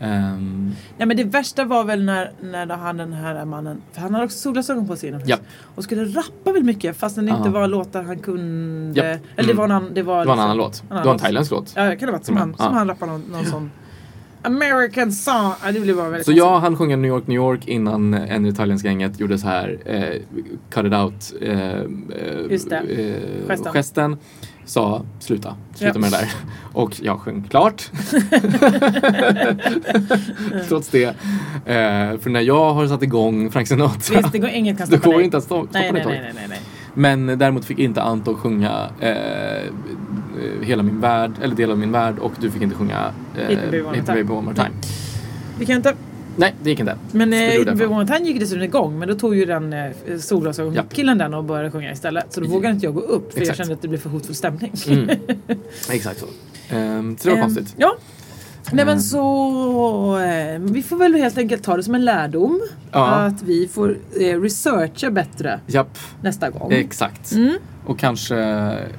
Speaker 2: Ehm,
Speaker 1: Nej men det värsta var väl när, när han den här mannen, för han hade också solglasögon på sig inomhus.
Speaker 2: Ja.
Speaker 1: Och skulle rappa väldigt mycket fast det inte
Speaker 2: Aha.
Speaker 1: var låtar han kunde.
Speaker 2: Ja.
Speaker 1: Eller det var en annan, det var liksom-
Speaker 2: det var en annan låt. Det var en thailändsk låt.
Speaker 1: Ja det kan det ha varit som,
Speaker 2: Som
Speaker 1: han,
Speaker 2: jag-
Speaker 1: som
Speaker 2: Mm. ja.
Speaker 1: han rappade någon, någon sån American song. Ja, det blev bara väldigt
Speaker 2: Så jag han sjunga New York, New York innan eh, en i italienska gänget gjorde så här eh, cut it out eh, eh,
Speaker 1: Just det.
Speaker 2: eh,
Speaker 1: Gesten.
Speaker 2: Sa sluta, sluta
Speaker 1: Ja.
Speaker 2: med det där. Och jag sjöng klart. Trots det. Eh, för när jag har satt igång Frank Sinatra.
Speaker 1: Visst, det går inget kan
Speaker 2: Då
Speaker 1: stoppa
Speaker 2: går
Speaker 1: dig.
Speaker 2: inte att stå- stoppa
Speaker 1: nej,
Speaker 2: det
Speaker 1: nej,
Speaker 2: taget.
Speaker 1: nej, nej, nej, nej.
Speaker 2: Men däremot fick inte Anton sjunga eh, eh, Hela min värld, eller Del av min värld och du fick inte sjunga eh,
Speaker 1: Hit Me Baby One More
Speaker 2: Hit Me
Speaker 1: Time.
Speaker 2: Baby One More Time.
Speaker 1: Vi kan inte.
Speaker 2: Nej, det gick inte.
Speaker 1: Men
Speaker 2: Så det
Speaker 1: eh,
Speaker 2: gjorde jag
Speaker 1: Yngwie
Speaker 2: för.
Speaker 1: Montan gick dessutom igång men då tog ju den eh, solglasögonkillen den och började sjunga istället. Så då vågade inte jag gå upp för jag
Speaker 2: Exakt.
Speaker 1: kände att det blev för hotfull stämning.
Speaker 2: Mm. Exakt så. Ehm, så det var
Speaker 1: Ehm,
Speaker 2: konstigt.
Speaker 1: Ja. Nej
Speaker 2: Ehm.
Speaker 1: men så, eh, vi får väl helt enkelt ta det som en lärdom.
Speaker 2: Ja.
Speaker 1: Att vi får eh, researcha bättre
Speaker 2: Japp,
Speaker 1: nästa gång.
Speaker 2: exakt.
Speaker 1: Mm.
Speaker 2: Och kanske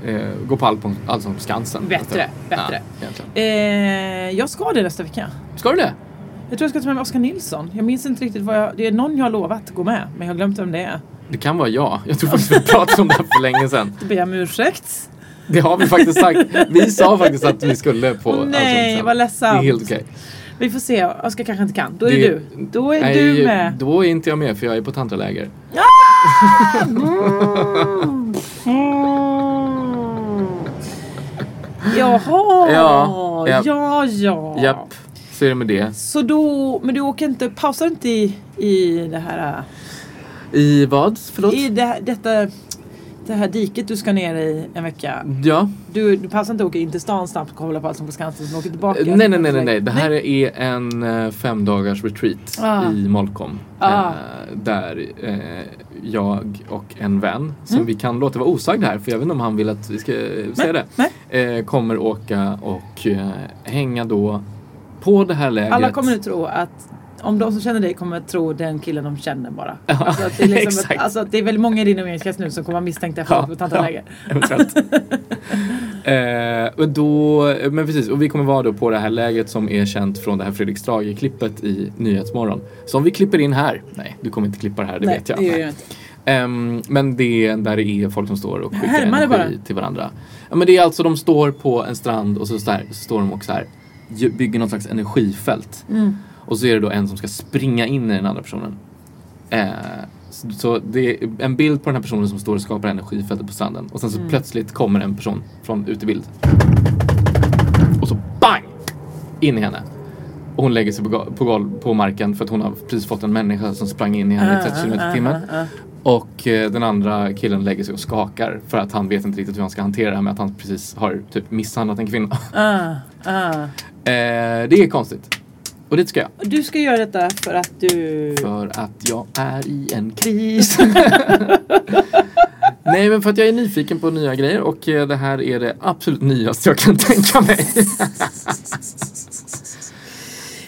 Speaker 2: eh, gå på Allpång- Allsång på Skansen. Alltså,
Speaker 1: Bättre, bättre.
Speaker 2: Ja, egentligen.
Speaker 1: Eh, jag ska det nästa vecka.
Speaker 2: Ska du det?
Speaker 1: Jag tror jag ska ta med mig Oskar Nilsson. Jag minns inte riktigt vad jag... Det är någon jag har lovat gå med, men jag har glömt vem det är.
Speaker 2: Det kan vara jag. Jag tror faktiskt vi pratade om det här för länge sedan.
Speaker 1: Då ber jag om ursäkt.
Speaker 2: Det har vi faktiskt sagt. Vi sa faktiskt att vi skulle på
Speaker 1: Åh, nej,
Speaker 2: Allsång på Skansen.
Speaker 1: vad ledsamt.
Speaker 2: Det är helt okej.
Speaker 1: Vi får se. Oskar kanske inte kan. Då är det,
Speaker 2: Det-
Speaker 1: du. Då är
Speaker 2: Nej,
Speaker 1: du med.
Speaker 2: Då är inte jag med för jag är på tantraläger.
Speaker 1: Mm. Jaha!
Speaker 2: Ja, japp.
Speaker 1: ja. ja.
Speaker 2: Japp, så är det med det.
Speaker 1: Så då... Men du åker inte... Pausar inte i, i det här...
Speaker 2: I vad? Förlåt?
Speaker 1: I det, här- detta... Det här diket du ska ner i en vecka.
Speaker 2: Ja.
Speaker 1: Du, du passar inte att åka in till stan snabbt och kolla på allt som på Skansen och åker tillbaka.
Speaker 2: Eh, Nej, nej, nej, nej, nej. Det här är en eh, fem dagars retreat
Speaker 1: Ah.
Speaker 2: i Molkom.
Speaker 1: Ah.
Speaker 2: Eh, där eh, jag och en vän, som
Speaker 1: Mm.
Speaker 2: vi kan låta vara osagd här för jag vet inte om han vill att vi ska eh, säga det. Eh, kommer åka och eh, hänga då på det här lägret.
Speaker 1: Alla kommer nu tro att om de som känner dig kommer att tro den killen de känner bara. Alltså att det, är liksom
Speaker 2: exakt.
Speaker 1: att, alltså att det är väldigt många i din umgängeskrets nu som kommer vara misstänkta för
Speaker 2: Ja,
Speaker 1: att ja, läger.
Speaker 2: Eventuellt. eh, och då, men precis, och vi kommer vara då på det här läget som är känt från det här Fredrik Strage-klippet i Nyhetsmorgon. Som vi klipper in här. Nej, du kommer inte klippa det här, det vet jag.
Speaker 1: Det gör
Speaker 2: Nej.
Speaker 1: jag inte.
Speaker 2: Ehm, men det är där det är folk som står och skickar
Speaker 1: härmar det
Speaker 2: energi
Speaker 1: bara.
Speaker 2: till varandra. Ja, men det är alltså de står på en strand och så, så, här, så står de och så här, gö- bygger någon slags energifält.
Speaker 1: Mm.
Speaker 2: Och så är det då en som ska springa in i den andra personen. Eh, så, så det är en bild på den här personen som står och skapar energifältet på stranden. Och sen
Speaker 1: Mm.
Speaker 2: så plötsligt kommer en person från utebild. Och så BANG! In i henne. Och hon lägger sig på, go- på, golv, på marken för att hon har precis fått en människa som sprang in i
Speaker 1: Ah,
Speaker 2: henne i 30 km i timmen. Och eh, den andra killen lägger sig och skakar för att han vet inte riktigt hur han ska hantera det här med att han precis har typ misshandlat en kvinna. eh, det är konstigt. Och dit ska jag.
Speaker 1: Du ska göra detta för att du...
Speaker 2: För att jag är i en kris. Nej, men för att jag är nyfiken på nya grejer och eh, det här är det absolut nyaste jag kan tänka mig.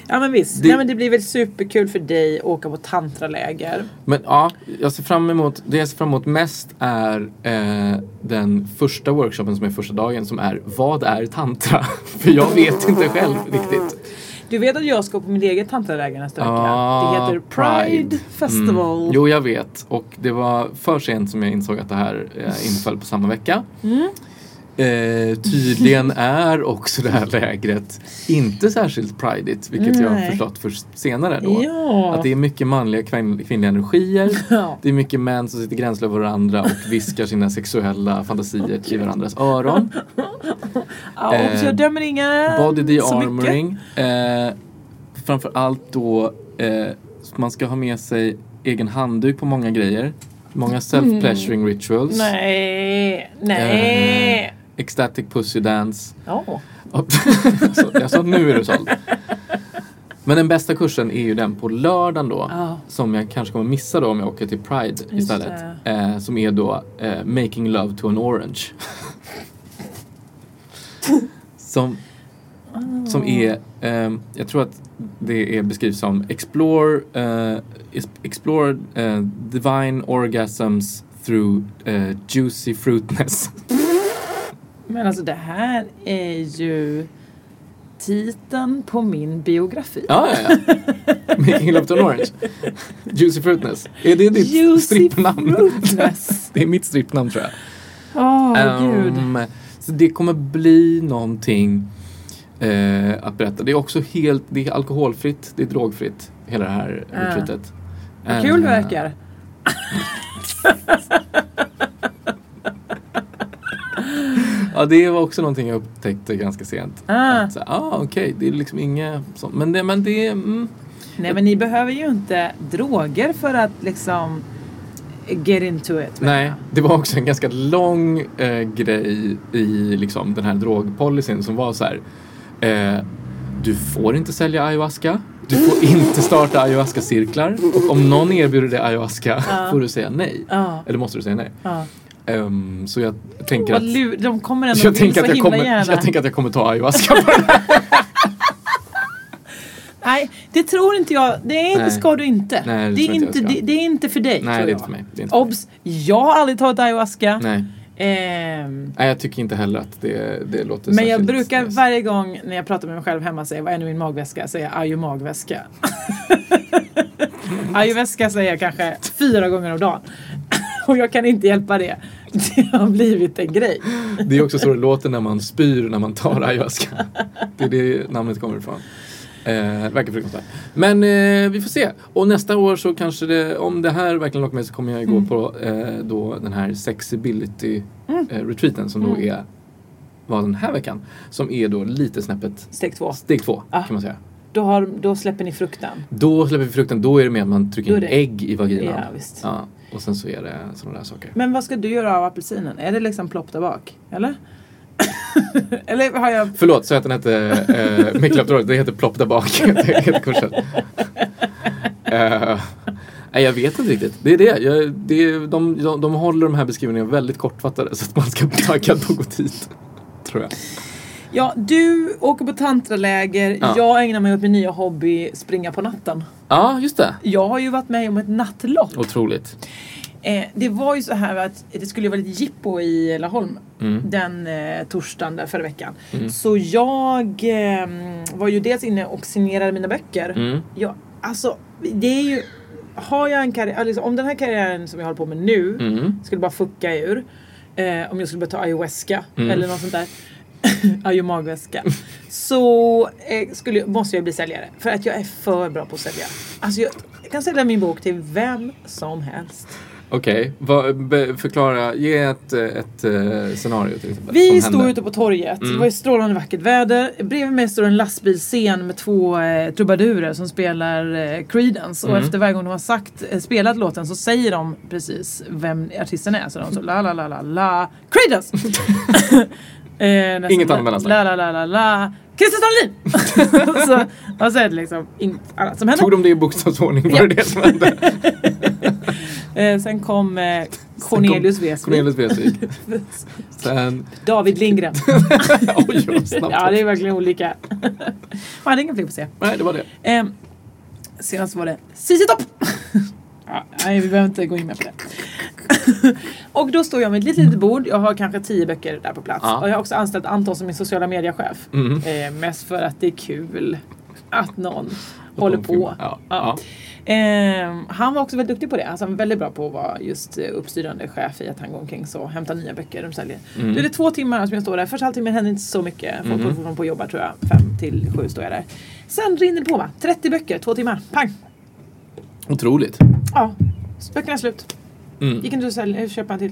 Speaker 1: Ja men visst.
Speaker 2: Det-
Speaker 1: Nej, men det blir väl superkul för dig att åka på tantraläger.
Speaker 2: Men ja, jag ser fram emot, det jag ser fram emot mest är eh, den första workshopen som är första dagen som är Vad är tantra? För jag vet inte själv riktigt.
Speaker 1: Du vet att jag ska på mitt eget tantraläger nästa vecka.
Speaker 2: Ah,
Speaker 1: Det heter Pride
Speaker 2: Pride. Mm.
Speaker 1: Festival.
Speaker 2: Jo, jag vet. Och det var för sent som jag insåg att det här eh, inföll på samma vecka.
Speaker 1: Mm.
Speaker 2: Eh, tydligen är också det här lägret inte särskilt prideigt, vilket jag har
Speaker 1: Nej.
Speaker 2: förstått först senare då.
Speaker 1: Ja.
Speaker 2: Att det är mycket manliga kvin- kvinnliga energier.
Speaker 1: Ja.
Speaker 2: Det är mycket män som sitter gränslösa över varandra och viskar sina sexuella fantasier till varandras öron.
Speaker 1: Ja, och
Speaker 2: eh,
Speaker 1: jag dömer ingen
Speaker 2: Body
Speaker 1: så mycket.
Speaker 2: de-armoring. Eh, framför allt då eh, man ska ha med sig egen handduk på många grejer. Många self-pleasuring rituals.
Speaker 1: Mm. Nej,
Speaker 2: Eh.
Speaker 1: nej.
Speaker 2: Ecstatic pussy dance.
Speaker 1: Ja.
Speaker 2: Upp. Så, jag sa nu är du såld. Men den bästa kursen är ju den på lördagen då.
Speaker 1: Ja.
Speaker 2: Som jag kanske kommer missa då om jag åker till Pride istället.
Speaker 1: det.
Speaker 2: Eh, som är då eh, Making Love to an Orange. som,
Speaker 1: Ah.
Speaker 2: som är, ehm, jag tror att det är beskrivs som Explore, eh, is- explore eh, Divine Orgasms through eh, Juicy Fruitness.
Speaker 1: Men alltså det här är ju titeln på min biografi.
Speaker 2: Ja, ja, ja. Making Love to an Orange. Juicy Fruitness. Är det ditt
Speaker 1: Juicy
Speaker 2: strippnamn?
Speaker 1: Fruitness.
Speaker 2: det är mitt strippnamn tror jag.
Speaker 1: Åh, gud.
Speaker 2: Ehm, så det kommer bli någonting eh, att berätta. Det är också helt, det är alkoholfritt, det är drogfritt, hela det här
Speaker 1: Ah.
Speaker 2: retreatet.
Speaker 1: Vad kul det
Speaker 2: Ehm,
Speaker 1: verkar.
Speaker 2: Ja, det var också någonting jag upptäckte ganska sent.
Speaker 1: Ah.
Speaker 2: Att, så, här, ah, okej, det är liksom inga sånt. Men det, men det, mm,
Speaker 1: Nej men ni behöver ju inte droger för att liksom get into it. menar
Speaker 2: nej.
Speaker 1: jag.
Speaker 2: Det var också en ganska lång eh, grej i liksom den här drogpolicyn som var så här. Eh, du får inte sälja ayahuasca. Du får inte starta ayahuasca-cirklar. Och om någon erbjuder dig ayahuasca får du säga nej.
Speaker 1: Ja.
Speaker 2: Eller måste du säga nej.
Speaker 1: Ja.
Speaker 2: Ehm, så jag tänker
Speaker 1: Vad
Speaker 2: att...
Speaker 1: lur- De kommer ändå
Speaker 2: Jag
Speaker 1: jag vill så
Speaker 2: tänker, att
Speaker 1: himla
Speaker 2: jag, kommer,
Speaker 1: gärna.
Speaker 2: jag tänker att jag kommer ta ayahuasca på den här.
Speaker 1: Nej, det tror inte jag. Det är inte
Speaker 2: Nej.
Speaker 1: ska du inte.
Speaker 2: Nej, det
Speaker 1: det, är
Speaker 2: tror inte jag
Speaker 1: inte
Speaker 2: ska.
Speaker 1: det, det är inte för dig.
Speaker 2: Nej,
Speaker 1: tror
Speaker 2: det är
Speaker 1: jag.
Speaker 2: inte för mig. Det är inte för mig.
Speaker 1: Obs! Jag har aldrig tagit ayahuasca.
Speaker 2: Nej.
Speaker 1: Ehm,
Speaker 2: Nej, jag tycker inte heller att det, det låter
Speaker 1: men jag
Speaker 2: särskilt
Speaker 1: brukar
Speaker 2: nice.
Speaker 1: varje gång när jag pratar med mig själv hemma säga vad är nu min magväska? Säger jag "Aj, magväska. Ayahuasca säger jag kanske fyra gånger om dagen. Och jag kan inte hjälpa det. Det har blivit en grej.
Speaker 2: Det är också så det låter när man spyr när man tar ayahuasca. Det är det namnet kommer ifrån. Eh, verkar fruktansvärt. Men eh, vi får se. Och nästa år så kanske det, om det här verkligen lockar mig så kommer jag gå
Speaker 1: Mm.
Speaker 2: på eh, då den här sexibility eh, retreaten som
Speaker 1: Mm.
Speaker 2: då är var den här veckan. Som är då lite snäppet
Speaker 1: Steg två.
Speaker 2: steg två
Speaker 1: Ah.
Speaker 2: kan man säga.
Speaker 1: Då, har, då släpper ni frukten.
Speaker 2: Då släpper vi frukten, då är det mer att man trycker
Speaker 1: Då är
Speaker 2: in
Speaker 1: det-
Speaker 2: ägg i vaginan.
Speaker 1: Ja, visst.
Speaker 2: Ja, och sen så är det sådana där saker.
Speaker 1: Men vad ska du göra av apelsinen? Är det liksom plopp där bak? Eller? Eller har jag...
Speaker 2: Förlåt, så att den hette eh, Mikkel Abdurrahman. Det heter Plopp där bak. Det heter kursen. Eh, Nej, jag vet inte riktigt. Det är det. Jag, det är, de, de, de håller de här beskrivningarna väldigt kortfattade så att man ska bli taggad på att gå dit. Tror jag.
Speaker 1: Ja, du åker på tantraläger.
Speaker 2: Ja.
Speaker 1: Jag ägnar mig åt min nya hobby, springa på natten.
Speaker 2: Ja, just det.
Speaker 1: Jag har ju varit med om ett nattlopp.
Speaker 2: Otroligt.
Speaker 1: Eh, det var ju så här att det skulle ju vara lite jippo i Laholm
Speaker 2: Mm.
Speaker 1: den eh, torsdagen där förra veckan. Så jag eh, var ju dels inne och signerade mina böcker.
Speaker 2: Mm.
Speaker 1: Ja, alltså, det är ju... Har jag en karriär, alltså, om den här karriären som jag håller på med nu
Speaker 2: Mm.
Speaker 1: skulle bara fucka ur. Eh, om jag skulle börja ta ayahuasca
Speaker 2: Mm.
Speaker 1: eller något sånt där. Ayomagväska. Så eh, skulle, jag- måste jag bli säljare. För att jag är för bra på att sälja. Alltså jag, jag kan sälja min bok till vem som helst.
Speaker 2: Okej, Vad- be- förklara. Ge ett, eh, ett eh, scenario till exempel.
Speaker 1: Vi
Speaker 2: som Mm.
Speaker 1: stod
Speaker 2: händer.
Speaker 1: ute på torget. Det var ju strålande vackert väder. Bredvid mig står en lastbilscen med två eh, trubadurer som spelar eh, Creedence.
Speaker 2: Mm.
Speaker 1: Och efter varje gång de har sagt, eh, spelat låten så säger de precis vem artisten är. Så de så la la la la la Creedence! eh, nästan,
Speaker 2: Inget annat mellansnack.
Speaker 1: La la la la la Christer Sandlin! så, och så är det liksom inget annat som händer.
Speaker 2: Tog de det i bokstavsordning? Var det det som hände?
Speaker 1: Eh, sen kom eh, Cornelius Vreeswijk.
Speaker 2: Cornelius Vreeswijk. Sen...
Speaker 1: David Lindgren.
Speaker 2: Oj, vad snabbt.
Speaker 1: ja, det är verkligen olika. Man hade inga fler på C.
Speaker 2: Nej, det var det.
Speaker 1: Ehm, senast var det Cici Topp! ja, nej, vi behöver inte gå in mer på det. och då står jag med ett litet, litet bord. Jag har kanske tio böcker där på plats.
Speaker 2: Ja.
Speaker 1: Och jag har också anställt Anton som min sociala mediechef.
Speaker 2: Mm.
Speaker 1: Eh, mest för att det är kul att någon håller
Speaker 2: de
Speaker 1: på.
Speaker 2: filmar. Ja.
Speaker 1: Ehm, han var också väldigt duktig på det. Alltså, han var väldigt bra på att vara just eh, uppstyrande chef i att han går omkring så och hämtar nya böcker de säljer.
Speaker 2: Mm.
Speaker 1: Då är det två timmar som jag står där. Första halvtimmen händer inte så mycket. Folk
Speaker 2: Mm-hmm.
Speaker 1: håller fortfarande på och jobbar tror jag. Fem till sju står jag där. Sen rinner det på va. 30 böcker, två timmar. Pang!
Speaker 2: Otroligt.
Speaker 1: Ja, böckerna är slut.
Speaker 2: Mm.
Speaker 1: Gick inte att sälja, köpa en till.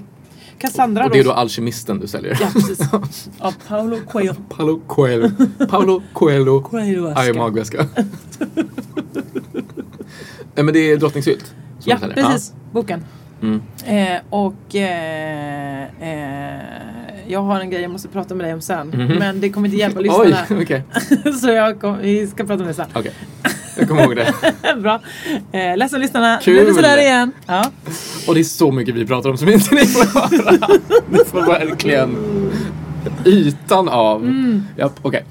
Speaker 1: Cassandra
Speaker 2: Och det är då alkemisten du säljer?
Speaker 1: Ja, precis. Av Paolo Coelho.
Speaker 2: Paolo Coelho. Paolo Coelho.
Speaker 1: Coelho-aska.
Speaker 2: Aj, magväska. Nej men det är drottningsylt. som
Speaker 1: Ja,
Speaker 2: jag säljer.
Speaker 1: precis. Boken.
Speaker 2: Mm.
Speaker 1: Eh, och eh, eh, jag har en grej jag måste prata med dig om sen. Men det kommer inte hjälpa
Speaker 2: Ja. Mhm. Oj,
Speaker 1: lyssnarna.
Speaker 2: okej.
Speaker 1: Så jag kom, vi ska prata om det sen.
Speaker 2: Okej. Jag kommer ihåg det.
Speaker 1: Bra. Eh, ledsen lyssnarna.
Speaker 2: Kul.
Speaker 1: Nu är det sådär igen. Ja.
Speaker 2: Och det är så mycket vi pratar om som inte ni får höra. Ni får verkligen ytan av.
Speaker 1: Mm.
Speaker 2: Ja, okej.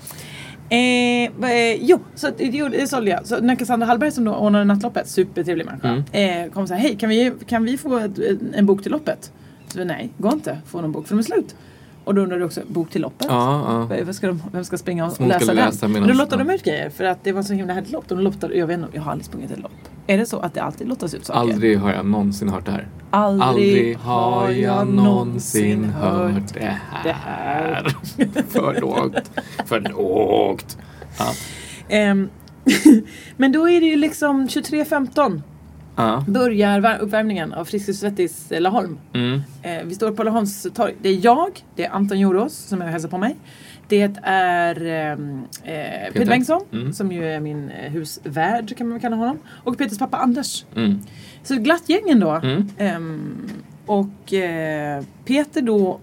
Speaker 1: Eh, va- eh, jo, så att det gjorde- det sålde jag. Så när Cassandra Hallberg som då ordnade nattloppet, supertrevlig
Speaker 2: Mm.
Speaker 1: människa, eh, kom och sa hej kan vi, kan vi få ett, en bok till loppet? Så, nej, går inte. Få någon bok för de är slut. Och då undrar du också bok till loppet.
Speaker 2: Ja, ja.
Speaker 1: Vem ska, de, vem ska springa och
Speaker 2: Som hon
Speaker 1: läsa
Speaker 2: ska
Speaker 1: den?
Speaker 2: läsa medan-
Speaker 1: Men då lottade de
Speaker 2: ja.
Speaker 1: ut grejer för att det var så himla härligt lopp. De lottade, jag, vet inte, jag har aldrig sprungit ett lopp. Är det så att det alltid lottas ut saker?
Speaker 2: Aldrig har jag någonsin hört det här.
Speaker 1: Aldrig,
Speaker 2: Aldrig har jag någonsin hört det
Speaker 1: det
Speaker 2: här.
Speaker 1: här.
Speaker 2: För lågt. För lågt.
Speaker 1: Ehm, men då är det ju liksom 23.15
Speaker 2: Ja.
Speaker 1: börjar var- uppvärmningen av Friskis Svettis eh, Laholm.
Speaker 2: Mm.
Speaker 1: Eh, vi står på Laholms torg. Det är jag, det är Anton Jorås som jag hälsar på mig. Det är ehm, eh, Peter Bengtsson
Speaker 2: Mm.
Speaker 1: som ju är min eh, husvärd kan man väl kalla honom. Och Peters pappa Anders.
Speaker 2: Mm.
Speaker 1: Så ett glatt gäng ändå.
Speaker 2: Mm.
Speaker 1: Ehm, och eh, Peter då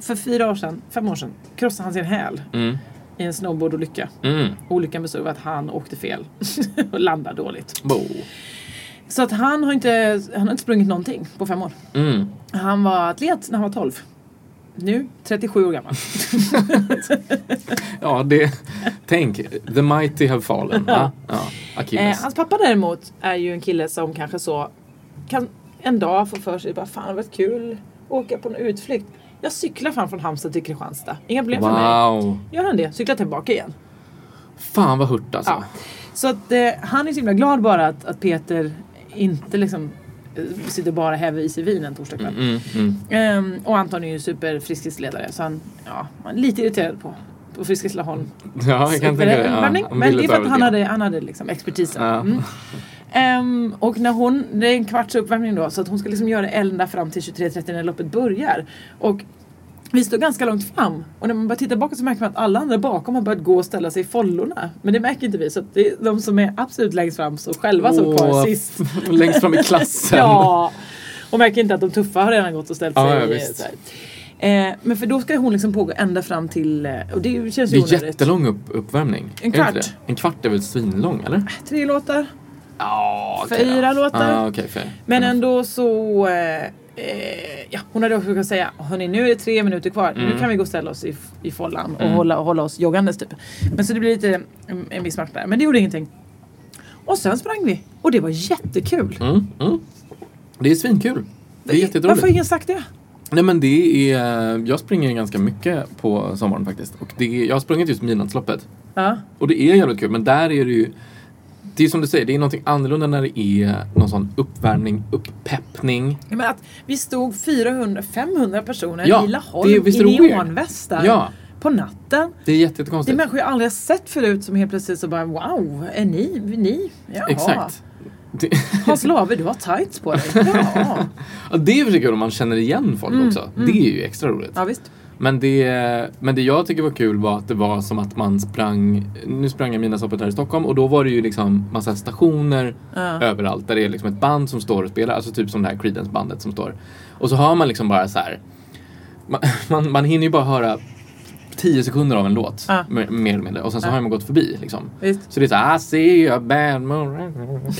Speaker 1: för fyra år sedan, fem år sedan, krossade han sin häl
Speaker 2: Mm.
Speaker 1: i en snowboardolycka.
Speaker 2: Mm.
Speaker 1: Olyckan bestod av att han åkte fel och landade dåligt.
Speaker 2: Bo.
Speaker 1: Så att han har inte, han har inte sprungit någonting på fem år.
Speaker 2: Mm.
Speaker 1: Han var atlet när han var 12. Nu 37 år gammal.
Speaker 2: Ja, det... Tänk, the mighty have fallen. Ja. Ja.
Speaker 1: Eh,
Speaker 2: Achilles.
Speaker 1: hans pappa däremot är ju en kille som kanske så kan en dag få för sig bara fan det har varit kul åka på en utflykt. Jag cyklar fan från Halmstad till Kristianstad. Inga problem för mig.
Speaker 2: Wow.
Speaker 1: Gör han det, cyklar tillbaka igen.
Speaker 2: Fan vad hurt alltså.
Speaker 1: Ja. Så att eh, han är så himla glad bara att, att Peter inte liksom eh, sitter bara och häver i sig vin en torsdagkväll.
Speaker 2: Mm, mm.
Speaker 1: Ehm, och Anton är ju superfriskisledare så han, ja, han är lite irriterad på, på Friskis Laholm.
Speaker 2: ja, jag kan tänka mig det. Ja,
Speaker 1: Uppvärmning.
Speaker 2: han
Speaker 1: Men
Speaker 2: ville
Speaker 1: det är
Speaker 2: ta
Speaker 1: för
Speaker 2: över
Speaker 1: att han
Speaker 2: det.
Speaker 1: hade, han hade liksom expertisen.
Speaker 2: Ja.
Speaker 1: Mm. Ehm, och när hon, det är en kvarts uppvärmning då så att hon ska liksom göra ända fram till 23.30 när loppet börjar. Och vi står ganska långt fram och när man börjar titta bakåt så märker man att alla andra bakom har börjat gå och ställa sig i follorna. Men det märker inte vi så att det är de som är absolut längst fram står själva som kvar
Speaker 2: Åh,
Speaker 1: sist.
Speaker 2: Längst fram i klassen.
Speaker 1: Ja! Och märker inte att de tuffa har redan gått och ställt
Speaker 2: Ja,
Speaker 1: sig.
Speaker 2: ja,
Speaker 1: eh,
Speaker 2: visst.
Speaker 1: så här. Eh, men för då ska hon liksom pågå ända fram till, eh, och det känns
Speaker 2: Det
Speaker 1: ju
Speaker 2: är
Speaker 1: onödigt.
Speaker 2: jättelång upp, uppvärmning.
Speaker 1: En
Speaker 2: Är det inte
Speaker 1: kvart.
Speaker 2: det? En kvart är väl svinlång, eller?
Speaker 1: Tre låtar.
Speaker 2: Ja, okej då.
Speaker 1: Fyra låtar.
Speaker 2: Ja, okej, fyra.
Speaker 1: Men ändå så... Eh, eh, ja, hon hade också kunnat säga Hörni, nu är det tre minuter kvar.
Speaker 2: Mm.
Speaker 1: Nu kan vi gå och ställa oss i, i follan och hålla, hålla oss joggandes typ. Men så det blir lite mm, en viss match där. Men det gjorde ingenting. Och sen sprang vi. Och det var jättekul.
Speaker 2: Mm, mm. Det är svinkul. Det är jätteroligt.
Speaker 1: Varför har ingen sagt det?
Speaker 2: Nej men det är, jag springer ganska mycket på sommaren faktiskt. Och det är, jag har sprungit just midnattsloppet.
Speaker 1: Ja.
Speaker 2: Och det är jävligt kul men där är det ju, det är som du säger, det är någonting annorlunda när det är någon sån uppvärmning, upppeppning.
Speaker 1: Men att vi stod 400-500 personer
Speaker 2: Ja,
Speaker 1: i
Speaker 2: det är-
Speaker 1: Laholm
Speaker 2: visst
Speaker 1: i
Speaker 2: är det weird?
Speaker 1: neonvästar
Speaker 2: Ja.
Speaker 1: på natten.
Speaker 2: Det är
Speaker 1: Det är
Speaker 2: jättekonstigt.
Speaker 1: människor jag aldrig har sett förut som helt plötsligt så bara wow, är ni, ni? Jaha.
Speaker 2: Exakt. Det,
Speaker 1: Hans Labe, du har tights på dig. Ja,
Speaker 2: ja, det är för sig kul om man känner igen folk
Speaker 1: Mm,
Speaker 2: också. Det är ju extra roligt.
Speaker 1: ja visst.
Speaker 2: Men det, men det jag tycker var kul var att det var som att man sprang, nu sprang jag midnattsloppet här i Stockholm och då var det ju liksom massa stationer överallt där det är liksom ett band som står och spelar, alltså typ som det här Creedence-bandet som står. Och så hör man liksom bara så här, man, man, man hinner ju bara höra tio sekunder av en låt,
Speaker 1: Ja.
Speaker 2: mer mer eller mindre, och sen så har man gått förbi liksom.
Speaker 1: Visst.
Speaker 2: Så det är så här, I see a bad moon.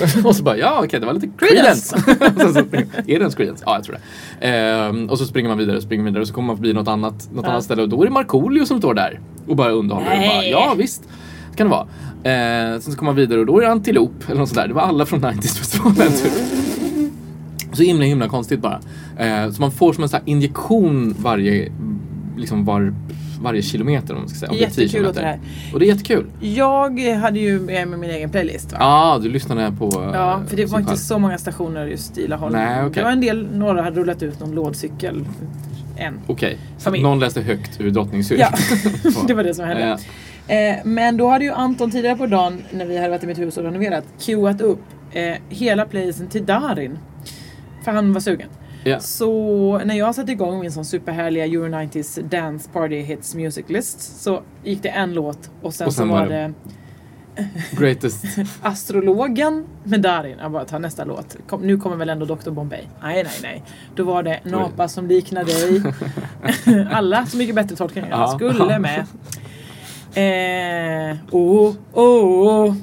Speaker 2: Och så bara, ja okej, det var lite
Speaker 1: Creedence.
Speaker 2: Creedence. Och sen så springer- är det ens Creedence? Ja, jag tror det. Ehm, och så springer man vidare, springer vidare och så kommer man förbi något annat, något annat ställe och då är det Markoolio som står där och bara underhåller. Och bara,
Speaker 1: Nej.
Speaker 2: ja, visst. Det kan det vara. Ehm, sen så kommer man vidare och då är det Antilop eller något sånt där. Det var alla från 90s-festivalen typ. Så himla himla konstigt bara. Eh, så man får som en sån här injektion varje, liksom var, varje kilometer om man ska säga. Om det är 10
Speaker 1: Jättekul att
Speaker 2: kilometer.
Speaker 1: det här.
Speaker 2: Och det är jättekul.
Speaker 1: Jag hade ju med mig min egen playlist. Va?
Speaker 2: Ja, ah, du lyssnade på... eh,
Speaker 1: Ja, för det var inte
Speaker 2: musikal.
Speaker 1: så många stationer just i Laholm.
Speaker 2: Nej, okej.
Speaker 1: Det var en del, några hade rullat ut någon lådcykel. En.
Speaker 2: Okej, så
Speaker 1: Familj.
Speaker 2: någon läste högt ur Drottningshus.
Speaker 1: Ja, det var det som hände.
Speaker 2: Ja.
Speaker 1: Eh, men då hade ju Anton tidigare på dagen, när vi hade varit i mitt hus och renoverat, cueat upp eh, hela playlisten till Darin. För han var sugen.
Speaker 2: Ja.
Speaker 1: Så när jag satte igång min sån superhärliga Euro 90s Dance Party Hits Music List så gick det en låt och sen,
Speaker 2: Och sen
Speaker 1: så
Speaker 2: var
Speaker 1: var
Speaker 2: det-
Speaker 1: det
Speaker 2: Greatest.
Speaker 1: Astrologen med Darin. Jag bara tar nästa låt. Kom, nu kommer väl ändå Dr Bombay. Nej, nej, nej. Då var det en
Speaker 2: Oj.
Speaker 1: apa som liknar dig. Alla så mycket bättre tolkningar.
Speaker 2: Ja.
Speaker 1: Jag skulle med. Eh, oh, oh, oh.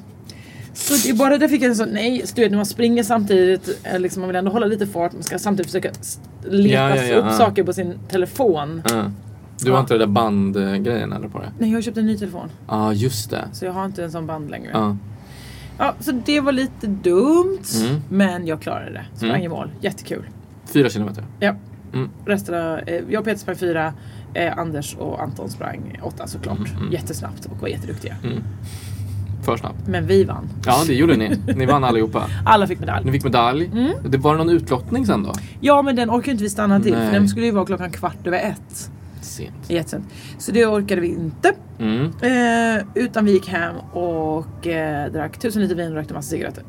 Speaker 1: Så det är bara där fick jag en sån, nej, så du vet när man springer samtidigt, eh, liksom, man vill ändå hålla lite fart, man ska samtidigt försöka s- leta
Speaker 2: Ja, ja, ja,
Speaker 1: upp
Speaker 2: ja.
Speaker 1: saker på sin telefon.
Speaker 2: Ja. Du har inte den där bandgrejen eller på det?
Speaker 1: Nej, jag köpte en ny telefon,
Speaker 2: Ja, just det.
Speaker 1: så jag har inte en sån band längre.
Speaker 2: Ja.
Speaker 1: Ja, så det var lite dumt.
Speaker 2: Mm.
Speaker 1: Men jag klarade det. Sprang
Speaker 2: Mm.
Speaker 1: i mål. Jättekul.
Speaker 2: Fyra kilometer.
Speaker 1: Ja.
Speaker 2: Mm.
Speaker 1: Resten, av- eh, jag och Peter sprang fyra. Eh, Anders och Anton sprang åtta såklart.
Speaker 2: Mm,
Speaker 1: Jättesnabbt och var jätteduktiga.
Speaker 2: För snabbt.
Speaker 1: Men vi vann.
Speaker 2: Ja, det gjorde ni. Ni vann allihopa.
Speaker 1: Alla fick medalj.
Speaker 2: Ni fick medalj.
Speaker 1: Mm.
Speaker 2: Det var någon utlottning sen då?
Speaker 1: Ja men den orkade inte vi stanna till
Speaker 2: Nej.
Speaker 1: för den skulle ju vara klockan kvart över ett.
Speaker 2: Sent.
Speaker 1: Jättesent. Så det orkade vi inte.
Speaker 2: Mm.
Speaker 1: Eh, utan vi gick hem och eh, drack tusen liter vin och rökte massa cigaretter.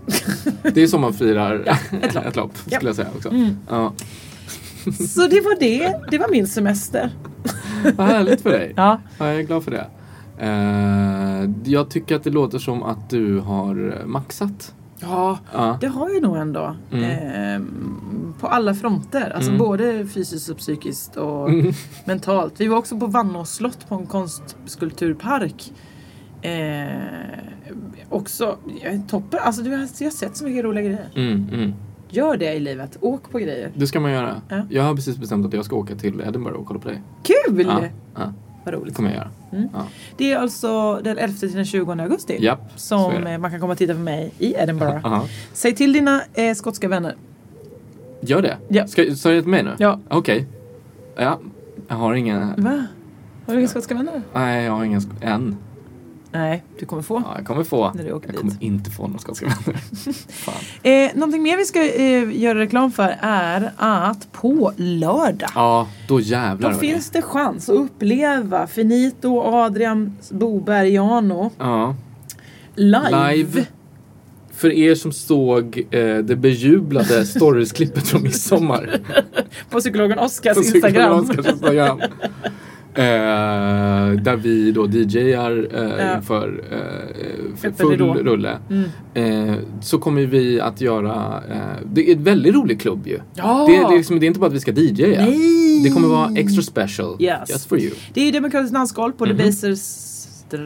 Speaker 2: Det är så man firar ett lopp, skulle
Speaker 1: Ja. Mm.
Speaker 2: jag säga också. Ja.
Speaker 1: så det var det. Det var min semester.
Speaker 2: Vad härligt för dig.
Speaker 1: Ja.
Speaker 2: Ja, jag är glad för det. Eh, jag tycker att det låter som att du har maxat.
Speaker 1: Ja,
Speaker 2: Ja.
Speaker 1: det har jag nog ändå.
Speaker 2: Mm.
Speaker 1: Ehm, på alla fronter. Alltså både fysiskt och psykiskt och
Speaker 2: Mm.
Speaker 1: mentalt. Vi var också på Vannås slott på en konstskulpturpark. Eh, också ja, toppen. Alltså du, har- jag har sett så mycket roliga grejer.
Speaker 2: Mm, mm.
Speaker 1: Gör det i livet. Åk på grejer.
Speaker 2: Det ska man göra.
Speaker 1: Ja.
Speaker 2: Jag har precis bestämt att jag ska åka till Edinburgh och kolla på dig.
Speaker 1: Kul!
Speaker 2: Ja, ja,
Speaker 1: Vad
Speaker 2: det
Speaker 1: roligt.
Speaker 2: kommer jag göra.
Speaker 1: Mm.
Speaker 2: Ja.
Speaker 1: Det är alltså den 11 till den 20 augusti.
Speaker 2: Japp, så är
Speaker 1: Som
Speaker 2: det.
Speaker 1: eh, man kan komma och titta på mig i Edinburgh.
Speaker 2: Aha.
Speaker 1: Säg till dina eh, skotska vänner.
Speaker 2: Gör det?
Speaker 1: Ja.
Speaker 2: Ska, sa du det till mig nu?
Speaker 1: Ja.
Speaker 2: Okej. Ja. Jag har ingen...
Speaker 1: Va? Har du inga skotska vänner?
Speaker 2: Nej, jag har ingen... sk- Än.
Speaker 1: Nej, du kommer få.
Speaker 2: Ja, jag kommer få...
Speaker 1: När du åker
Speaker 2: jag kommer
Speaker 1: dit.
Speaker 2: inte få några skotska vänner. Fan.
Speaker 1: Eh, någonting mer vi ska eh, göra reklam för är att på lördag
Speaker 2: Ja, då jävlar.
Speaker 1: då
Speaker 2: hörni.
Speaker 1: finns det chans att uppleva Finito Adrian Bobergiano
Speaker 2: Ja.
Speaker 1: live.
Speaker 2: Live. För er som såg eh, det bejublade storiesklippet från midsommar.
Speaker 1: på psykologen Oskars
Speaker 2: på
Speaker 1: Instagram.
Speaker 2: Psykodelanskans Instagram. Eh, där vi då DJar eh,
Speaker 1: Ja.
Speaker 2: inför eh, för
Speaker 1: Öppen
Speaker 2: full
Speaker 1: ridå. Mm.
Speaker 2: rulle. Eh, så kommer vi att göra, eh, det är en väldigt rolig klubb ju.
Speaker 1: Ja.
Speaker 2: Det, är- det, är liksom, det är inte bara att vi ska DJa.
Speaker 1: Nej.
Speaker 2: Det kommer vara Mhm. extra special.
Speaker 1: Yes.
Speaker 2: Just for you.
Speaker 1: Det är ju Demokratiskt landskal på mm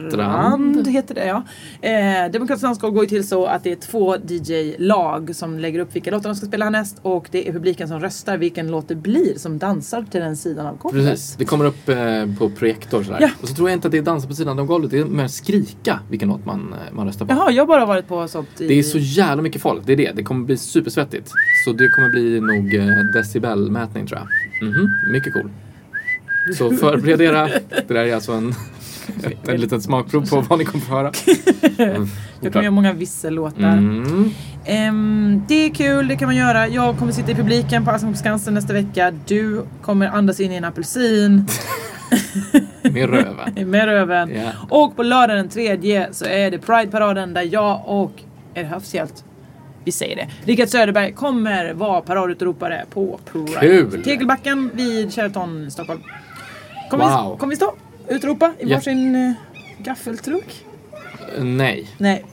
Speaker 1: Strand heter det ja. Eh, Demokratiskt landskal går ju till så att det är två DJ-lag som lägger upp vilka låtar de ska spela härnäst och det är publiken som röstar vilken låt det blir som dansar till den sidan av golvet.
Speaker 2: Precis. Det kommer upp eh, på projektor sådär.
Speaker 1: Ja.
Speaker 2: Och så tror jag inte att det är dansa på sidan av golvet. Det är mer skrika vilken låt man, eh, man röstar på.
Speaker 1: Jaha, jag har bara varit på sånt i...
Speaker 2: Det är så jävla mycket folk. Det är det. Det kommer bli supersvettigt. Så det kommer bli nog eh, decibelmätning tror jag. Mhm, Mycket cool. Så förbered era. Det där är alltså en, ett, en liten smakprov på vad ni kommer få höra. Mm,
Speaker 1: Jag kommer göra många vissellåtar.
Speaker 2: Mm.
Speaker 1: Ehm, det är kul, det kan man göra. Jag kommer sitta i publiken på Allsång på Skansen nästa vecka. Du kommer andas in i en apelsin
Speaker 2: Med röven.
Speaker 1: med röven.
Speaker 2: Ja.
Speaker 1: Och på lördag den tredje så är det Pride-paraden där jag och... Är det höftshjält? Vi säger det. Rickard Söderberg kommer vara paradutropare på Pride.
Speaker 2: Kul!
Speaker 1: Tegelbacken vid Sheraton i Stockholm. Kommer,
Speaker 2: Wow.
Speaker 1: vi, kommer vi stå? Utropa i
Speaker 2: Ja.
Speaker 1: varsin eh, gaffeltruck?
Speaker 2: Nej,
Speaker 1: Nej,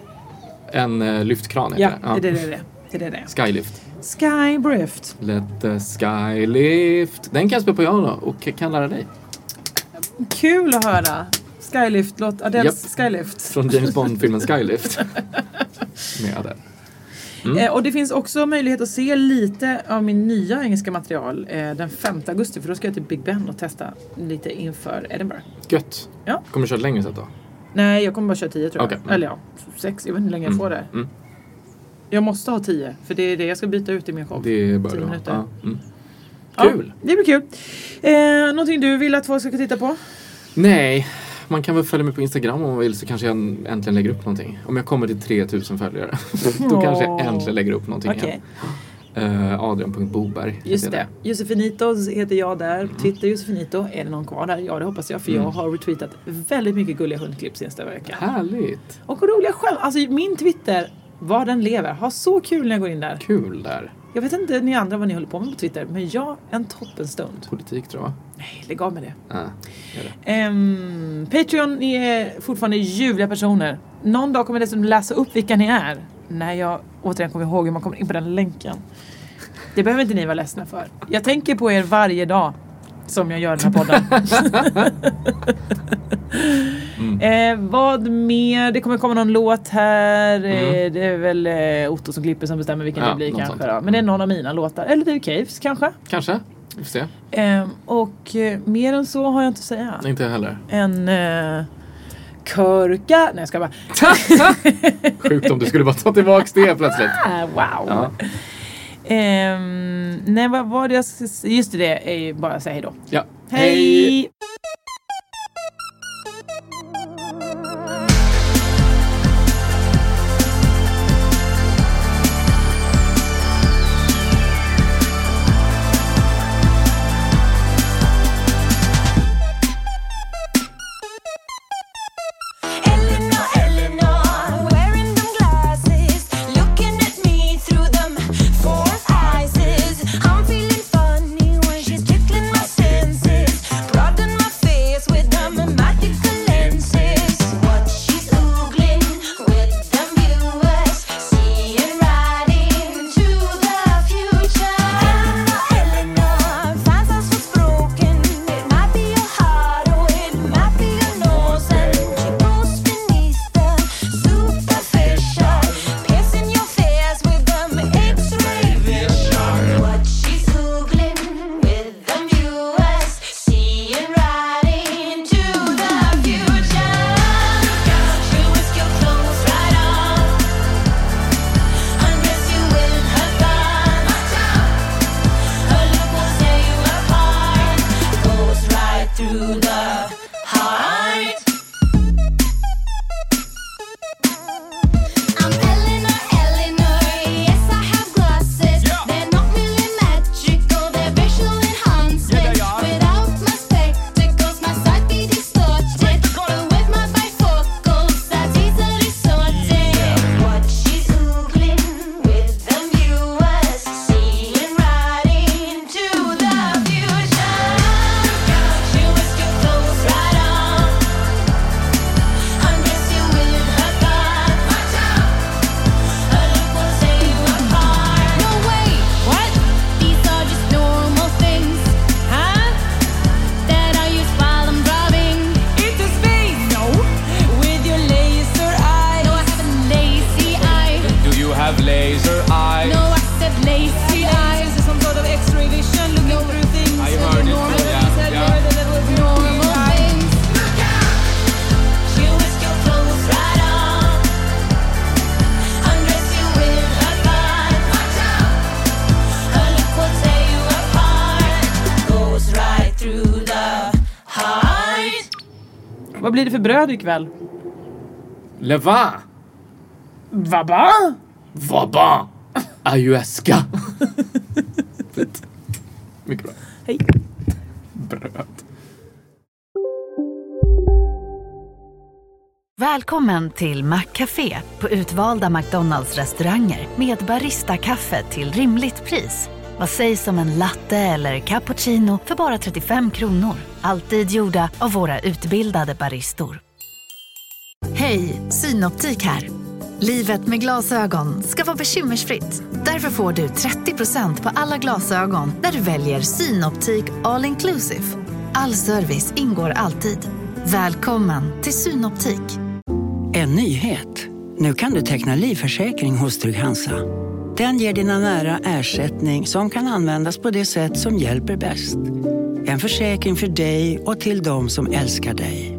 Speaker 2: en eh, lyftkran heter
Speaker 1: ja,
Speaker 2: det.
Speaker 1: det är det det är det. Det är det det är.
Speaker 2: Skylift.
Speaker 1: Skybrift.
Speaker 2: Let the sky lift. Den kan jag spela på piano och kan lära dig.
Speaker 1: Kul att höra. Skylift, låt Adels
Speaker 2: Japp.
Speaker 1: Skylift.
Speaker 2: Från James Bond-filmen Skylift. Med Adele. Mm.
Speaker 1: Eh, och det finns också möjlighet att se lite av min nya engelska material eh, den 5 augusti för då ska jag till Big Ben och testa lite inför Edinburgh.
Speaker 2: Gött.
Speaker 1: Ja.
Speaker 2: Kommer du köra ett längre set då?
Speaker 1: Nej, jag kommer bara köra 10 tror jag.
Speaker 2: Okej, mm.
Speaker 1: Eller ja, 6. Jag vet inte hur länge jag får det.
Speaker 2: mm.
Speaker 1: Jag måste ha 10 för det är det jag ska byta ut i min show.
Speaker 2: Det bör
Speaker 1: Tio
Speaker 2: du ha.
Speaker 1: minuter.
Speaker 2: Ja, mm.
Speaker 1: Ja,
Speaker 2: Kul!
Speaker 1: det blir kul. Eh, någonting du vill att folk ska titta på?
Speaker 2: Nej, man kan väl följa mig på Instagram om man vill så kanske jag äntligen lägger upp någonting. Om jag kommer till 3000 följare då kanske jag
Speaker 1: Åh.
Speaker 2: äntligen lägger upp någonting
Speaker 1: Okej.
Speaker 2: igen. Eh, Adrian.boberg heter
Speaker 1: Just
Speaker 2: jag
Speaker 1: det. Mm.
Speaker 2: där.
Speaker 1: Josefinitos heter jag där. Twitter Josefinito. Är det någon kvar där? Ja, det hoppas jag. För jag har retweetat väldigt mycket gulliga hundklipp senaste veckan.
Speaker 2: Härligt!
Speaker 1: Och roliga skämt. Alltså min Twitter, var den lever. Har så kul när jag går in där.
Speaker 2: Kul där.
Speaker 1: Jag vet inte ni andra vad ni håller på med på Twitter, men jag en toppenstund.
Speaker 2: Politik tror jag.
Speaker 1: Nej, lägg av med det.
Speaker 2: Ja, gör det.
Speaker 1: Ehm, Patreon, ni är fortfarande ljuvliga personer. Någon dag kommer jag dessutom läsa upp vilka ni är. När jag återigen kommer ihåg hur man kommer in på den länken. Det behöver inte ni vara ledsna för. Jag tänker på er varje dag som jag gör den här podden.
Speaker 2: Mm.
Speaker 1: Eh, vad mer? Det kommer komma någon låt här. Eh, det är väl eh, Otto som klipper som bestämmer vilken
Speaker 2: Mm. Ja,
Speaker 1: det blir
Speaker 2: något
Speaker 1: kanske.
Speaker 2: sånt. Mm.
Speaker 1: Då. Men det är någon av mina låtar. Eller det är Caves kanske.
Speaker 2: Kanske. Vi får se.
Speaker 1: Ehm, och eh, mer än så har jag inte att säga
Speaker 2: Inte jag heller.
Speaker 1: en eh, körka. Nej jag ska bara,
Speaker 2: Sjukt om du skulle bara ta tillbaks det plötsligt.
Speaker 1: ah, wow.
Speaker 2: Ja.
Speaker 1: Ehm, nej vad var det jag ska s- Just det, det är ju bara att säga hejdå.
Speaker 2: Ja.
Speaker 1: Hej! Vad blir det för bröd ikväll?
Speaker 2: Leva!
Speaker 1: Vaba?
Speaker 2: Vaba! Ajueska! Mycket bra.
Speaker 1: Hej.
Speaker 2: Bröd.
Speaker 3: Välkommen till Maccafé på utvalda McDonalds restauranger med Baristakaffe till rimligt pris. Vad sägs om en latte eller cappuccino för bara 35 kronor? Alltid gjorda av våra utbildade baristor. Hej, Synoptik här. Livet med glasögon ska vara bekymmersfritt. Därför får du 30% på alla glasögon när du väljer Synoptik All Inclusive. All service ingår alltid. Välkommen till Synoptik.
Speaker 4: En nyhet. Nu kan du teckna livförsäkring hos Trygg-Hansa. Den ger dina nära ersättning som kan användas på det sätt som hjälper bäst. En försäkring för dig och till de som älskar dig.